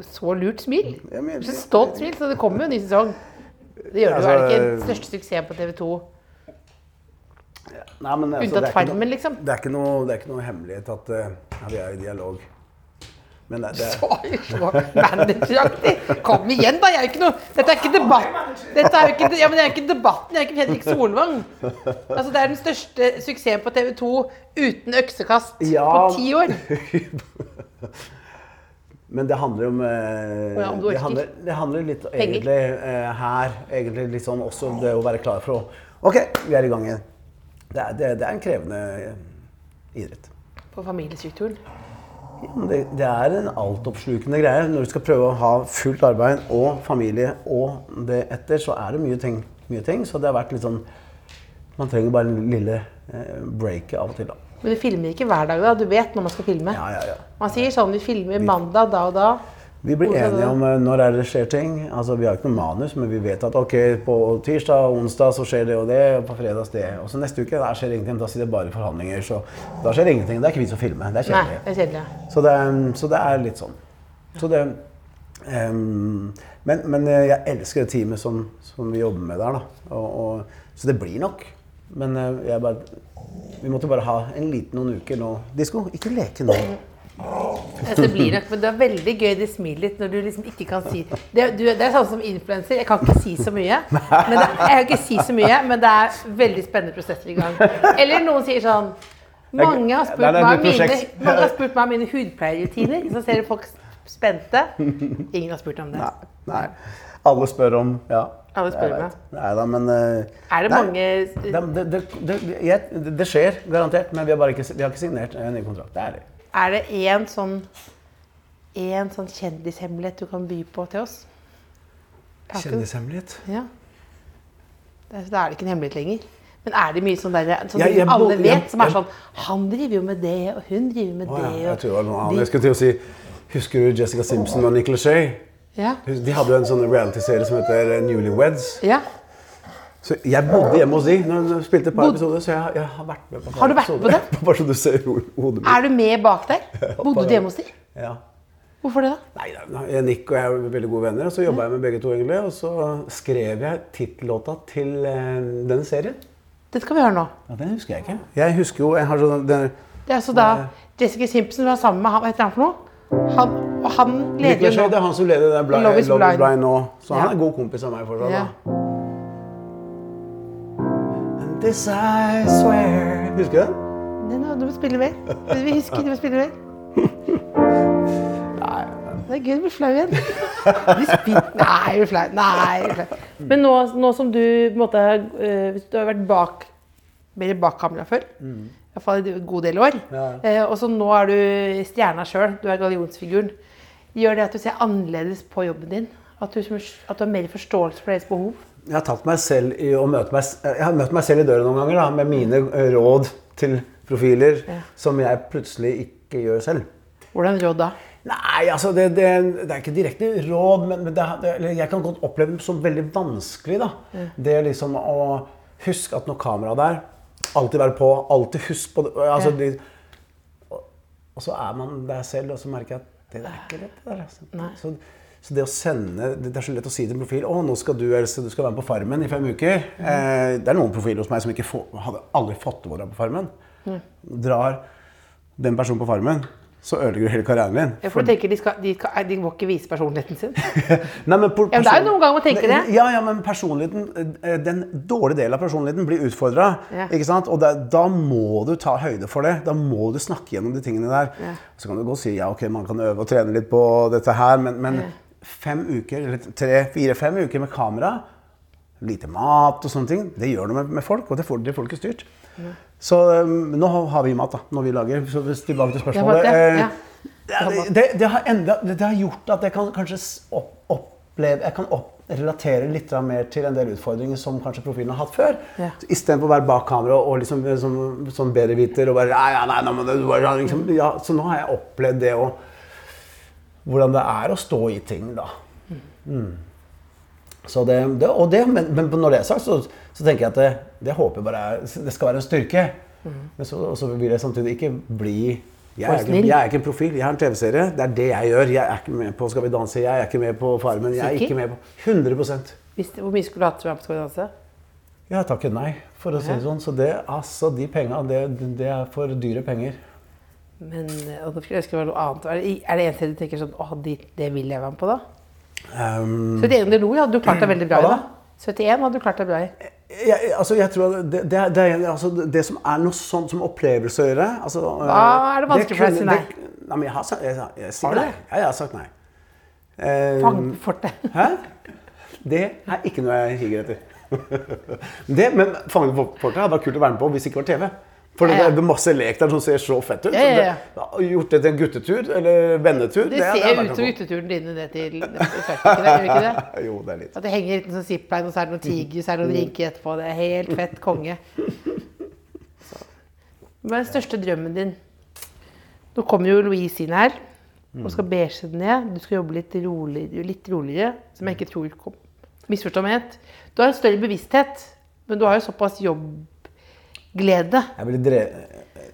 Speaker 3: Så lurt smil.
Speaker 4: Jeg mener-
Speaker 3: Så stolt smil, så det kommer jo en ny sesong. Det gjør det jo. Er det
Speaker 4: Altså,
Speaker 3: ikke den største suksessen på TV 2?
Speaker 4: Nei, men, altså,
Speaker 3: Unntatt
Speaker 4: det er ikke noe-
Speaker 3: Farmen, liksom.
Speaker 4: Det er ikke noe, det er ikke noe hemmelighet at eh, ja, vi er i dialog. Men det, det,
Speaker 3: Oi, så Manageraktig! Kom igjen, da! Jeg er jo ikke noe, dette er ikke debatt. Dette er jo ikke, ja, men det er jo ikke debatten, jeg er ikke Fredrik Solvang. Altså, det er den største suksessen på TV 2 uten øksekast på
Speaker 4: Ja.
Speaker 3: ti år.
Speaker 4: men det handler om eh,
Speaker 3: Ja, om du
Speaker 4: det,
Speaker 3: orker.
Speaker 4: handler, det handler litt egentlig eh, her. Egentlig litt sånn også det å være klar for å OK, vi er i gang igjen. Det er, det, det er en krevende eh, idrett.
Speaker 3: På familiestrukturen.
Speaker 4: Men Det, det er en altoppslukende greie. Når du skal prøve å ha fullt arbeid og familie og det etter, så er det mye ting. Mye ting så det har vært litt sånn Man trenger bare en lille eh, breaket av og til, da.
Speaker 3: Men du filmer ikke hver dag, da. Du vet når man skal filme.
Speaker 4: Ja, ja, ja.
Speaker 3: Man sier sånn Vi filmer mandag da og da.
Speaker 4: Vi blir
Speaker 3: Hvordan er
Speaker 4: enige
Speaker 3: det?
Speaker 4: om eh, når er det skjer ting. Altså, vi har ikke noe manus, men vi vet at ok, på tirsdag og onsdag så skjer det og det, og på fredags det. Og så neste uke der skjer ingenting, da sitter det bare forhandlinger. Så da skjer ingenting. Det er ikke vits å filme. Det er
Speaker 3: Nei,
Speaker 4: kjedelig.
Speaker 3: det er kjedelig.
Speaker 4: Så det, er- så det er litt sånn. Så det, ehm, men, men jeg elsker det teamet som, som vi jobber med der. Da. Og, og, så det blir nok. Men eh, jeg bare, vi måtte bare ha en liten noen uker nå. Disko, ikke leke nå.
Speaker 3: Altså, det blir nok, men det er veldig gøy det smilet ditt når du liksom ikke kan si Det, du, det er sånn som influenser, jeg kan ikke si så mye. Men det, jeg kan ikke si så mye, men det er veldig spennende prosesser i gang. Eller noen sier sånn Mange har spurt
Speaker 4: Det er et
Speaker 3: meg om
Speaker 4: nytt
Speaker 3: mine,
Speaker 4: prosjekt.
Speaker 3: mange har spurt meg om mine hudpleierrutiner. Så ser du folk spente. Ingen har spurt om det.
Speaker 4: Nei. nei. Alle spør om ja.
Speaker 3: Alle spør
Speaker 4: jeg
Speaker 3: om,
Speaker 4: vet. Neida, men eh,
Speaker 3: Er det
Speaker 4: nei.
Speaker 3: mange-
Speaker 4: det, det, det, det, jeg, det- det skjer, garantert. Men vi har, bare ikke, vi har ikke signert en ny kontrakt. Det er det.
Speaker 3: Er det én sånn, en sånn kjendishemmelighet du kan by på til oss? Jeg har ikke-
Speaker 4: Kjendishemmelighet.
Speaker 3: Ja. Da er det ikke en hemmelighet lenger. Men er det mye sånn der, som
Speaker 4: Jeg- jeg
Speaker 3: alle
Speaker 4: bo-
Speaker 3: vet,
Speaker 4: jeg-
Speaker 3: som er
Speaker 4: jeg-
Speaker 3: sånn Han driver jo med det, og hun driver med
Speaker 4: Å, ja.
Speaker 3: det
Speaker 4: Jeg
Speaker 3: og
Speaker 4: tror det var noe
Speaker 3: de-
Speaker 4: annet. Jeg skulle til å si Husker du Jessica Simpson og Nick Lachey?
Speaker 3: Ja.
Speaker 4: Hus- De hadde jo en sånn reality-serie som heter eh, Newlyweds.
Speaker 3: ja.
Speaker 4: Så jeg bodde hjemme hos de når de spilte et par
Speaker 3: Bod-
Speaker 4: episoder, så jeg, har- jeg har vært med på et par
Speaker 3: Har du vært på
Speaker 4: episoder. [LAUGHS] Bare så du ser ho- hodet mitt.
Speaker 3: Er du med bak
Speaker 4: [LAUGHS]
Speaker 3: der? Bodde du hjemme hos de?
Speaker 4: Ja.
Speaker 3: Hvorfor det, da?
Speaker 4: Nei, nei, nei, Nick og jeg er veldig gode venner, og så jobba jeg med begge to. egentlig, Og så skrev jeg tittellåta til eh, den serien.
Speaker 3: Det skal vi høre nå.
Speaker 4: Ja, Den husker jeg ikke. Jeg husker jo, jeg har sånn den,
Speaker 3: Det er altså da Jessica Simpson var sammen med han, hva heter han for noe? Han, og han
Speaker 4: Nick
Speaker 3: leder jo
Speaker 4: Lachey, Det
Speaker 3: nå.
Speaker 4: er han som leder den
Speaker 3: Love
Speaker 4: Blind, Love
Speaker 3: is
Speaker 4: is Blind.
Speaker 3: Blind
Speaker 4: nå. Så
Speaker 3: Ja.
Speaker 4: han er en god kompis av meg fortsatt.
Speaker 3: Ja.
Speaker 4: da. And this I swear. Husker du den?
Speaker 3: Nei, nå- Du må spille mer. Vi husker, du må spille mer. Det er gøy å bli flau igjen. Vi spiller. Nei, jeg blir flau. Nei, jeg blir flau. Men nå, nå som du på en måte, eh, hvis du har vært bak, mer bak kamera før, i hvert fall i en god del år,
Speaker 4: Ja.
Speaker 3: eh, og så nå er du stjerna sjøl, du er gallionsfiguren, gjør det at du ser annerledes på jobben din? At du, som- at du har mer forståelse for deres behov?
Speaker 4: Jeg har tatt meg selv i å møte meg, eh, jeg har møtt meg selv i døren noen ganger da, med mine eh, råd til profiler
Speaker 3: Ja.
Speaker 4: som jeg plutselig ikke gjør selv.
Speaker 3: Hvordan råd da?
Speaker 4: Nei, altså det, det, det er ikke direkte råd, men, men det, er- det, eller jeg kan godt oppleve det som veldig vanskelig. da.
Speaker 3: Mm.
Speaker 4: Det er liksom å huske at når kameraet er der, alltid være på, alltid husk på det. Altså,
Speaker 3: Ja.
Speaker 4: de, og, og så er man der selv, og så merker jeg at det er ikke lett. det der.
Speaker 3: Nei.
Speaker 4: Altså. Så, så det å sende Det det er så lett å si til en profil å, nå skal du Else, du skal være med på Farmen i fem uker.
Speaker 3: Mm.
Speaker 4: Eh, det er noen profiler hos meg som ikke få, hadde aldri fått til å være på Farmen.
Speaker 3: Mm.
Speaker 4: Drar den personen på Farmen, så ødelegger du hele karrieren din.
Speaker 3: Ja, For du tenker de, skal, de, kan- de må ikke vise personligheten sin?
Speaker 4: Nei, men
Speaker 3: Ja, men
Speaker 4: per-
Speaker 3: det er jo
Speaker 4: person-
Speaker 3: noen ganger man tenker det.
Speaker 4: Ja, ja, men personligheten, eh, den dårlige delen av personligheten blir utfordra.
Speaker 3: Ja.
Speaker 4: Ikke sant? Og da- da må du ta høyde for det. Da må du snakke gjennom de tingene der.
Speaker 3: Ja.
Speaker 4: Så kan du godt si ja, ok, man kan øve og trene litt på dette her, men, men fem uker, eller tre, fire, fem uker med kamera, lite mat og sånne ting, det gjør noe med, med folk, og det får, det får du ikke styrt. Så eh, nå har- har vi mat, da, når vi lager. Så hvis tilbake til
Speaker 3: Ja, for
Speaker 4: spørsmålet.
Speaker 3: at det-
Speaker 4: eh,
Speaker 3: ja.
Speaker 4: ja, det, det, det, har enda, det, det har gjort at jeg kan kanskje s- opp, oppleve Jeg kan opp, relatere litt grann mer til en del utfordringer som kanskje profilen har hatt før.
Speaker 3: Ja.
Speaker 4: Så Istedenfor å være bak kamera og liksom, som, som bedreviter og bare «Nei, ja, nei, nei, men det, var- ja», liksom, ja, Så nå har jeg opplevd det og Hvordan det er å stå i ting, da. Mm. Så det, det, og det, men, men når det er sagt, så, så tenker jeg at det, det håper jeg bare er Det skal være en styrke. Men så, og så vil jeg samtidig ikke bli jeg
Speaker 3: Mm. For
Speaker 4: er, ikke,
Speaker 3: snill.
Speaker 4: jeg er ikke en profil, jeg har en TV-serie. Det er det jeg gjør. Jeg er ikke med på Skal vi danse, jeg er ikke med på Farmen. Jeg er
Speaker 3: Sikker?
Speaker 4: ikke med på 100
Speaker 3: Hvis, hvor mye skulle du hatt til å være med på Skal vi danse?
Speaker 4: Jeg takker nei, for å si det sånn. Så det, altså, de penga, det, det er for dyre penger.
Speaker 3: Men eh, og da skulle jeg ønske det var noe annet. Er det, er det en sted du tenker sånn Å, det, det vil jeg være med på, da?
Speaker 4: Ehm,
Speaker 3: 71 Deloi hadde du klart deg veldig bra i,
Speaker 4: Hva
Speaker 3: da.
Speaker 4: da?
Speaker 3: 71 hadde du klart deg bra i.
Speaker 4: jeg, altså, jeg tror at det, det, er- det, er- altså, det som er noe sånt som opplevelse å gjøre altså,
Speaker 3: Hva er det vanskelig for deg å si nei?
Speaker 4: det- Nei, men jeg har sagt jeg, jeg, jeg,
Speaker 3: Har
Speaker 4: sier
Speaker 3: du
Speaker 4: nei.
Speaker 3: det?
Speaker 4: Ja, jeg har sagt nei. Ehm,
Speaker 3: Fang på fortet.
Speaker 4: Hæ? Det er ikke noe jeg higer etter. [LAUGHS] det, men Fangen på fortet hadde vært kult å være med på hvis det ikke var TV. For det
Speaker 3: Ja, ja.
Speaker 4: er masse lek der som ser så fett ut.
Speaker 3: Ja, ja, ja.
Speaker 4: Så det- Gjort det til en guttetur eller vennetur.
Speaker 3: Det ser
Speaker 4: hadde
Speaker 3: jo
Speaker 4: jeg
Speaker 3: ut
Speaker 4: vært
Speaker 3: som
Speaker 4: med på.
Speaker 3: gutteturen din ned til Frankrike, det gjør det ikke det?
Speaker 4: [LAUGHS] Jo, det er litt.
Speaker 3: At det henger litt sånn zipline, og så er det noe tigerjus, er det
Speaker 4: Mm.
Speaker 3: noen drinker etterpå. Det er helt fett konge. Så. Hva er den største drømmen din? Nå kommer jo Louise inn her. Og
Speaker 4: Mm.
Speaker 3: skal beige det ned. Du skal jobbe litt, rolig, litt roligere, som
Speaker 4: Mm.
Speaker 3: jeg ikke tror kom. Misforstå meg helt. Du har en større bevissthet, men du har jo såpass jobbglede.
Speaker 4: Jeg blir dre...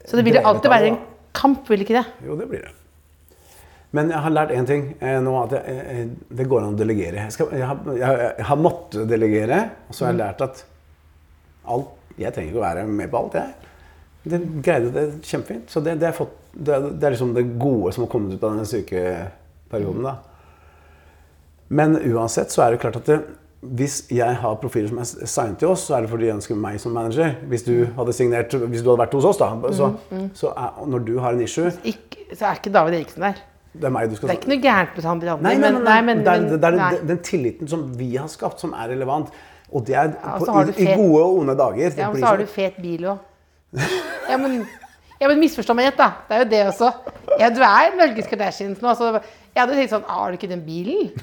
Speaker 3: Så det vil jo
Speaker 4: drevet
Speaker 3: alltid
Speaker 4: av det,
Speaker 3: være en
Speaker 4: da.
Speaker 3: kamp, vil ikke det?
Speaker 4: Jo, det blir det. Men jeg har lært én ting eh, nå, at jeg, eh, eh, det går an å delegere. Jeg, skal, jeg, har, jeg, jeg har måttet delegere, og så har jeg lært at alt, jeg trenger ikke å være med på alt, jeg. Det greide det kjempefint. Så det, det, har jeg fått, det, er- det er liksom det gode som har kommet ut av denne sykeperioden. Da. Men uansett så er det klart at det, hvis jeg har profiler som er signet til oss, så er det fordi de ønsker meg som manager. Hvis du hadde signert, hvis du hadde vært hos oss, da, så, så er, og når du har en issue
Speaker 3: Ikke, så er ikke David Eriksen der.
Speaker 4: det er meg du skal
Speaker 3: Det er ikke noe gærent med han Brandli,
Speaker 4: Nei, nei, nei,
Speaker 3: men, nei, men,
Speaker 4: det er, det er
Speaker 3: men nei.
Speaker 4: den, den tilliten som vi har skapt, som er relevant. Og det er
Speaker 3: Ja, og
Speaker 4: på,
Speaker 3: så har
Speaker 4: i,
Speaker 3: du
Speaker 4: i
Speaker 3: fet-
Speaker 4: gode og onde dager. Det
Speaker 3: Ja, men
Speaker 4: blir
Speaker 3: så har
Speaker 4: sånn.
Speaker 3: du fet bil òg. Ja, men, ja, men misforstå meg rett, da. Det er jo det også. Ja, du er Norges Kardashians nå. Så jeg hadde tenkt sånn «Ah, Har du ikke den bilen?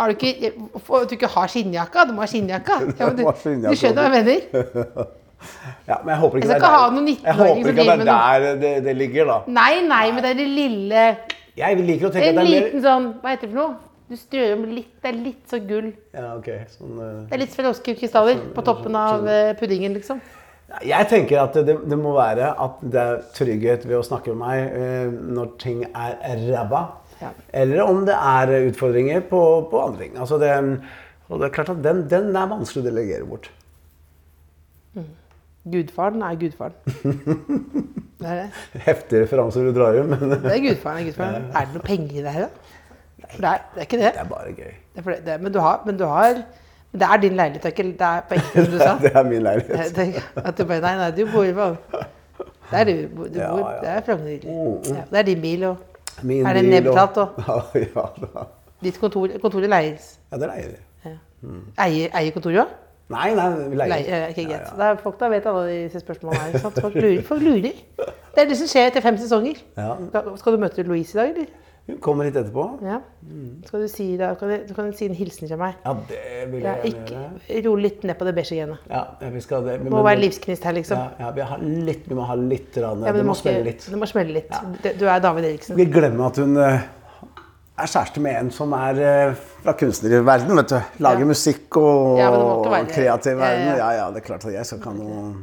Speaker 3: Har du ikke, hvorfor- du ikke har skinnjakka? Du må ha skinnjakka.
Speaker 4: [LAUGHS]
Speaker 3: Ja, men du,
Speaker 4: Du må ha skinnjakka.
Speaker 3: du skjønner hva jeg mener?
Speaker 4: ja, men jeg håper ikke
Speaker 3: Jeg skal
Speaker 4: det er
Speaker 3: ikke ha
Speaker 4: der-
Speaker 3: noen
Speaker 4: Jeg
Speaker 3: 19-åring
Speaker 4: håper
Speaker 3: som
Speaker 4: ikke at det
Speaker 3: driver
Speaker 4: er der det, det ligger, da.
Speaker 3: Nei, nei, men det er det lille
Speaker 4: Jeg liker å tenke
Speaker 3: En
Speaker 4: at det er mer
Speaker 3: liten sånn Hva heter det for noe? Du strør om litt. Det er litt sånn gull.
Speaker 4: ja, ok, sånn, eh.
Speaker 3: Det er litt sferoskekrystaller på toppen av eh, puddingen, liksom.
Speaker 4: Jeg tenker at det, det må være at det er trygghet ved å snakke med meg eh, når ting er ræva.
Speaker 3: Ja.
Speaker 4: Eller om det er utfordringer på, på andre ting. Altså det, og det er klart at den, den er vanskelig å delegere bort. [LAUGHS]
Speaker 3: Gudfaren er
Speaker 4: [LAUGHS]
Speaker 3: gudfaren. Det er det.
Speaker 4: Heftige referanser du drar i, men
Speaker 3: Det er gudfaren. Det er, gudfaren. er det noe penger i det her, da? For det er, det er ikke det.
Speaker 4: det er bare gøy.
Speaker 3: det, er for det, det men, du har, men du har men Det er din leilighet, det er ikke det er på ekte, som du sa?
Speaker 4: [LAUGHS] Det er min leilighet.
Speaker 3: Jeg tenker At du bare Nei, nei, du bor jo Det er du. bo- du
Speaker 4: Ja,
Speaker 3: bor,
Speaker 4: ja.
Speaker 3: Det er Frogner.
Speaker 4: Mm, mm.
Speaker 3: Ja, det er din bil og
Speaker 4: Min
Speaker 3: Er det
Speaker 4: bil
Speaker 3: nedbetalt og
Speaker 4: [LAUGHS] Ja, ja da.
Speaker 3: ditt kontor? Kontoret leies.
Speaker 4: Ja, det leier vi.
Speaker 3: Ja. Eier, eier kontoret òg?
Speaker 4: Nei, nei, vi leier.
Speaker 3: Leier. Ikke greit.
Speaker 4: Ja,
Speaker 3: Det er Folk da vet alle disse spørsmålene her. ikke Sant? Folk lurer. Folk lurer. Det er det som skjer etter fem sesonger.
Speaker 4: Ja. Mm.
Speaker 3: Da- Skal du møte Louise i dag, eller?
Speaker 4: ja. Hun kommer hit etterpå.
Speaker 3: Ja. Skal du si, da, kan du, kan du si en hilsen til meg?
Speaker 4: Ja, det vil
Speaker 3: Ja,
Speaker 4: jeg gjerne
Speaker 3: ikke,
Speaker 4: gjøre.
Speaker 3: ro litt ned på det beige genet.
Speaker 4: Ja, vi skal det. Vi
Speaker 3: Må være livsgnist her, liksom.
Speaker 4: Ja, ja, vi, har litt, vi må ha litt rann.
Speaker 3: Ja, men
Speaker 4: Vi
Speaker 3: du
Speaker 4: må
Speaker 3: ikke-
Speaker 4: spille litt.
Speaker 3: Du må smelle litt. Det- Du er David Eriksen.
Speaker 4: Vi glemmer at hun eh, er kjæreste med en som er eh, fra kunstnerverdenen, vet du. Lager
Speaker 3: Ja.
Speaker 4: musikk og,
Speaker 3: Ja, men det må ikke være-
Speaker 4: og kreativ verden.
Speaker 3: Ja, ja.
Speaker 4: Ja, ja, det er klart at jeg skal ikke ha noe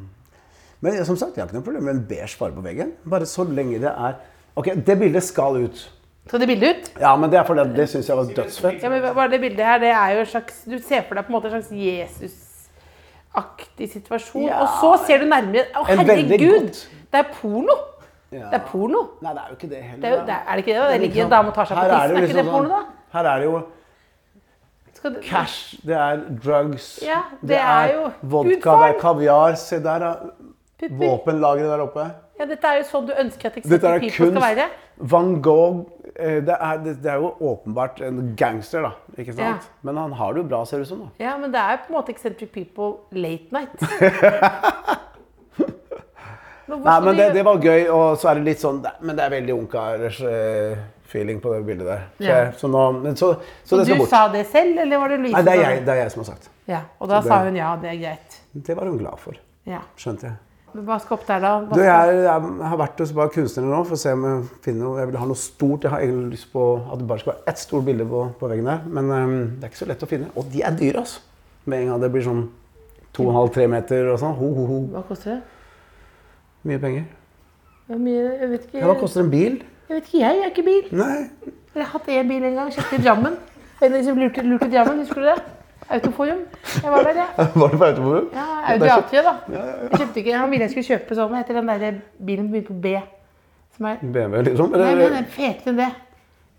Speaker 4: Men som sagt, jeg har ikke noe problem med en beige farge på veggen. Bare så lenge det er Ok, det bildet skal ut.
Speaker 3: Skal det bildet ut?
Speaker 4: Ja, men det er fordi at det syns jeg var dødsfett.
Speaker 3: Ja, men hva- hva er det bildet her? Det er jo en slags Du ser for deg på en måte en slags Jesus-aktig situasjon.
Speaker 4: Ja.
Speaker 3: Og så ser du nærmere. Å,
Speaker 4: En veldig
Speaker 3: herregud!
Speaker 4: godt-
Speaker 3: Det er porno!
Speaker 4: Ja.
Speaker 3: Det er porno.
Speaker 4: Nei, det er jo ikke det heller.
Speaker 3: Det er, jo, det er, er det ikke det? da? Det ligger en dame og tar seg på
Speaker 4: Her
Speaker 3: tissen.
Speaker 4: er
Speaker 3: Er
Speaker 4: det jo
Speaker 3: ikke det
Speaker 4: liksom
Speaker 3: porno, da?
Speaker 4: sånn- Her er det jo
Speaker 3: Skal det,
Speaker 4: cash, det er drugs,
Speaker 3: Ja, det er jo- Gud,
Speaker 4: vodka,
Speaker 3: far!
Speaker 4: det er kaviar. Se der, da.
Speaker 3: pupper.
Speaker 4: Våpenlageret der oppe.
Speaker 3: Ja, dette er jo sånn du ønsker at
Speaker 4: Dette er
Speaker 3: eksempelpipa skal være.
Speaker 4: kunst. Van Gogh eh, det er, det, det er jo åpenbart en gangster, da. ikke sant?
Speaker 3: Ja.
Speaker 4: Men han har det jo bra, ser det ut som. da.
Speaker 3: Ja, men det er på en måte Eccentric People late night.
Speaker 4: [LAUGHS]
Speaker 3: Nå, hvorfor
Speaker 4: Nei, men det,
Speaker 3: gjør-
Speaker 4: det var gøy, og så er det litt sånn det- Men det er veldig ungkar-feeling på det bildet der. Så,
Speaker 3: Ja.
Speaker 4: så, nå, men så, så
Speaker 3: du
Speaker 4: det skal bort.
Speaker 3: sa det selv, eller var det Louise?
Speaker 4: Nei, det er
Speaker 3: som sa
Speaker 4: jeg, det er jeg som har sagt.
Speaker 3: Ja, og da
Speaker 4: Så det-
Speaker 3: sa hun ja, det er greit.
Speaker 4: Det var hun glad for.
Speaker 3: Ja.
Speaker 4: Skjønte jeg.
Speaker 3: Men hva skal opp der, da? Hva
Speaker 4: Du,
Speaker 3: skal...
Speaker 4: jeg, jeg har vært hos bare kunstnere nå for å se om jeg finner noe. Jeg vil ha noe stort. Jeg har egentlig lyst på at det bare skal være ett stort bilde på, på veggen der. Men ehm, det er ikke så lett å finne. Og de er dyre, altså. Med en gang det blir sånn 2,5-3 meter og sånn. Ho, ho, ho.
Speaker 3: Hva koster det?
Speaker 4: Mye penger.
Speaker 3: Det er mye, jeg vet ikke,
Speaker 4: Ja, hva koster en bil?
Speaker 3: jeg vet ikke, jeg, jeg har ikke bil.
Speaker 4: Nei. [LAUGHS]
Speaker 3: Jeg har hatt én bil en gang, kjøpte i Drammen. En som lurte, lurte i Drammen, husker du det? Autoforum. Jeg var der, jeg.
Speaker 4: Var det på automobilen?
Speaker 3: Ja, Audi A3, da. Jeg kjøpte ikke, han ville jeg skulle kjøpe sånn, hva heter den der bilen som begynte på B? Som er...
Speaker 4: BMW, liksom?
Speaker 3: Nei,
Speaker 4: Eller
Speaker 3: den er fetere enn det.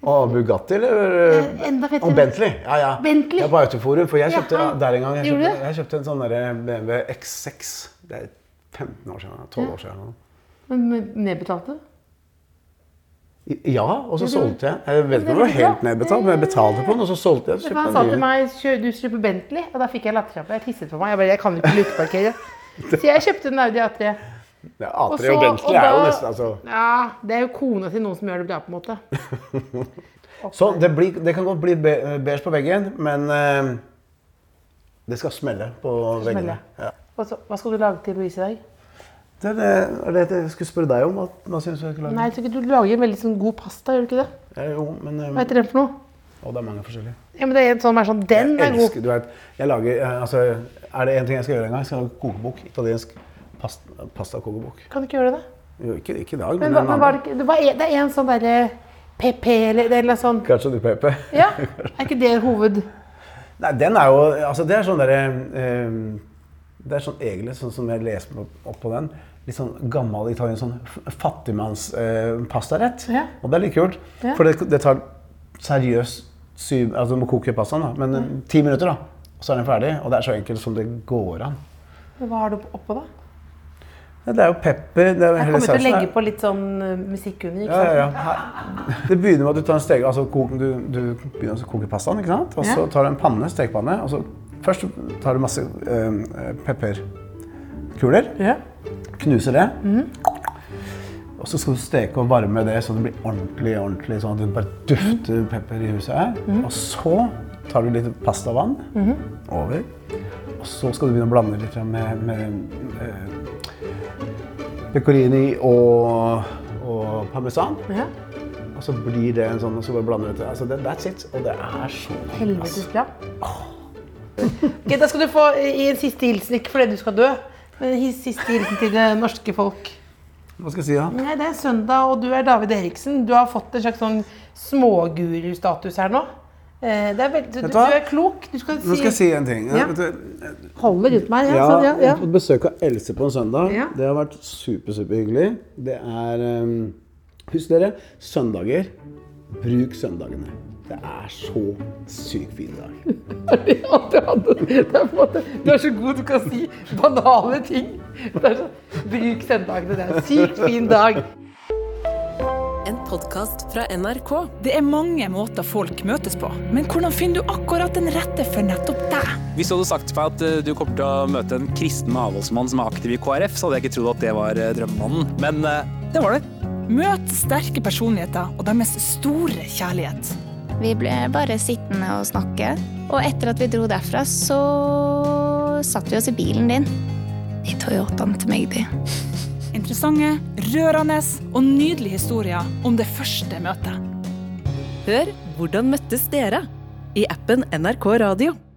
Speaker 4: Å, Bugatti, eller? eh,
Speaker 3: Enda fetere.
Speaker 4: Og Bentley. Ja, ja.
Speaker 3: Bentley.
Speaker 4: Ja, på Autoforum. For jeg kjøpte
Speaker 3: Jaha.
Speaker 4: der en gang. Jeg
Speaker 3: Gjorde
Speaker 4: kjøpte,
Speaker 3: du?
Speaker 4: jeg kjøpte en sånn der BMW X6. Det er 15 år siden. 12 år siden. nå.
Speaker 3: Men nedbetalte?
Speaker 4: I- Ja, og så
Speaker 3: det-
Speaker 4: solgte jeg. Jeg vet ikke
Speaker 3: Mhm. det
Speaker 4: om det var
Speaker 3: er bra.
Speaker 4: helt nedbetalt, men jeg betalte på den, og så solgte jeg. så
Speaker 3: Men
Speaker 4: kjøpte
Speaker 3: Han
Speaker 4: jeg
Speaker 3: sa
Speaker 4: en ny.
Speaker 3: til meg «Kjør- du kjøper Bentley, og da fikk jeg latterkrampe. Jeg tisset på meg. Jeg bare, jeg kan ikke
Speaker 4: [LAUGHS]
Speaker 3: luteparkere. Så jeg kjøpte en Audi A3.
Speaker 4: Ja,
Speaker 3: Og
Speaker 4: A3
Speaker 3: så-
Speaker 4: og Bentley
Speaker 3: og
Speaker 4: er jo
Speaker 3: da-
Speaker 4: nesten altså.
Speaker 3: Ja, det er jo kona til noen som gjør det bra, på en måte.
Speaker 4: Så det, blir, det kan godt bli be- beige på veggen, men eh, det skal smelle på veggene.
Speaker 3: smelle.
Speaker 4: Ja.
Speaker 3: Og så, hva skal du lage til Louise i dag?
Speaker 4: Det er det, er det jeg skulle spørre deg om. At, hva synes du jeg skulle lage?
Speaker 3: Nei, jeg tror ikke du lager en veldig sånn god pasta, gjør du ikke det?
Speaker 4: Eh, jo, men eh,
Speaker 3: Hva heter den for noe?
Speaker 4: å, det er mange forskjellige.
Speaker 3: Ja, men det er en sånn, mer sånn, den
Speaker 4: Jeg
Speaker 3: er god.
Speaker 4: elsker, du vet, jeg lager, eh, altså, er det én ting jeg skal gjøre en gang, skal jeg lage kokebok. Italiensk past, pastakokebok.
Speaker 3: Kan du ikke gjøre det?
Speaker 4: Jo, ikke, ikke i dag,
Speaker 3: Men,
Speaker 4: men,
Speaker 3: hva-
Speaker 4: en
Speaker 3: men var det, ikke- det, var, en- det er en sånn derre PP eller det er en eller annen sånn
Speaker 4: Cacio di pepe.
Speaker 3: Ja? Er ikke det hoved...
Speaker 4: Nei, den er jo Altså, det er sånn derre eh, Det er sånn egentlig, sånn som jeg leser meg opp på den, litt sånn gammel italiensk sånn fattigmannspastarett.
Speaker 3: Ja.
Speaker 4: Og det er litt kult.
Speaker 3: Ja.
Speaker 4: For det, det tar seriøst syv Altså, du må koke pastaen, da. Men eh, ti minutter, da. Og så er den ferdig. Og det er så enkelt som det går an.
Speaker 3: Hva har du oppå da?
Speaker 4: Ja, Det er jo pepper det er jo
Speaker 3: Jeg
Speaker 4: hele
Speaker 3: kommer til å
Speaker 4: sausen
Speaker 3: legge
Speaker 4: her.
Speaker 3: på litt sånn eh, musikk under. ikke
Speaker 4: ja, ja,
Speaker 3: sant?
Speaker 4: ja. Her- Det begynner med at du tar en steke, altså koken, du, du begynner å koke pastaen, ikke sant? Og så
Speaker 3: Ja.
Speaker 4: tar du en panne, stekepanne, og så først tar du masse eh, pepperkuler,
Speaker 3: Ja. Mhm.
Speaker 4: knuser det. Og så skal du steke og varme det så det blir ordentlig, ordentlig sånn at det bare
Speaker 3: Mhm.
Speaker 4: dufter pepper i huset her. Og så tar du litt pastavann
Speaker 3: Mhm.
Speaker 4: over. Og så skal du begynne å blande litt grann med, med eh, pecorini og, og parmesan.
Speaker 3: ja.
Speaker 4: Og så blir det en sånn, og så bare blander du dette. Altså, det, that's it. Og det er så altså.
Speaker 3: Helvetes bra. Ok, da skal du få i en siste hilsen, ikke fordi du skal dø, men en siste hilsen til det norske folk.
Speaker 4: Hva skal jeg si, da?
Speaker 3: Nei, det er søndag, og du er David Eriksen. Du har fått en slags sånn småguru-status her nå. Eh, Det er veldig, du,
Speaker 4: Vet du
Speaker 3: du
Speaker 4: hva?
Speaker 3: er klok. Du skal si,
Speaker 4: Nå skal jeg si en ting.
Speaker 3: Ja.
Speaker 4: Vet du,
Speaker 3: Holder rundt meg. Ja,
Speaker 4: Ja,
Speaker 3: sånn, ja,
Speaker 4: jeg
Speaker 3: ja.
Speaker 4: har fått besøk av Else på en søndag.
Speaker 3: Ja.
Speaker 4: Det har vært super, superhyggelig. Det er ehm, Husk dere, søndager. Bruk søndagene. Det er så sykt fin dag.
Speaker 3: Ja, det hadde- det er på en måte, du er så god du kan si banale ting. Det er så, bruk søndagene. Det er en sykt fin dag.
Speaker 2: En podkast fra NRK.
Speaker 6: Det er mange måter folk møtes på, men hvordan finner du akkurat den rette for nettopp deg?
Speaker 7: Hvis du hadde sagt til meg at eh, du kommer til å møte en kristen avholdsmann som er aktiv i KrF, så hadde jeg ikke trodd at det var eh, drømmemannen. Men eh, det var det.
Speaker 6: Møt sterke personligheter og deres store kjærlighet.
Speaker 8: Vi ble bare sittende og snakke. Og etter at vi dro derfra, så satt vi oss i bilen din. I Toyotaen til meg, de.
Speaker 6: Interessante, rørende og nydelige historier om det første møtet.
Speaker 2: Hør Hvordan møttes dere? i appen NRK Radio.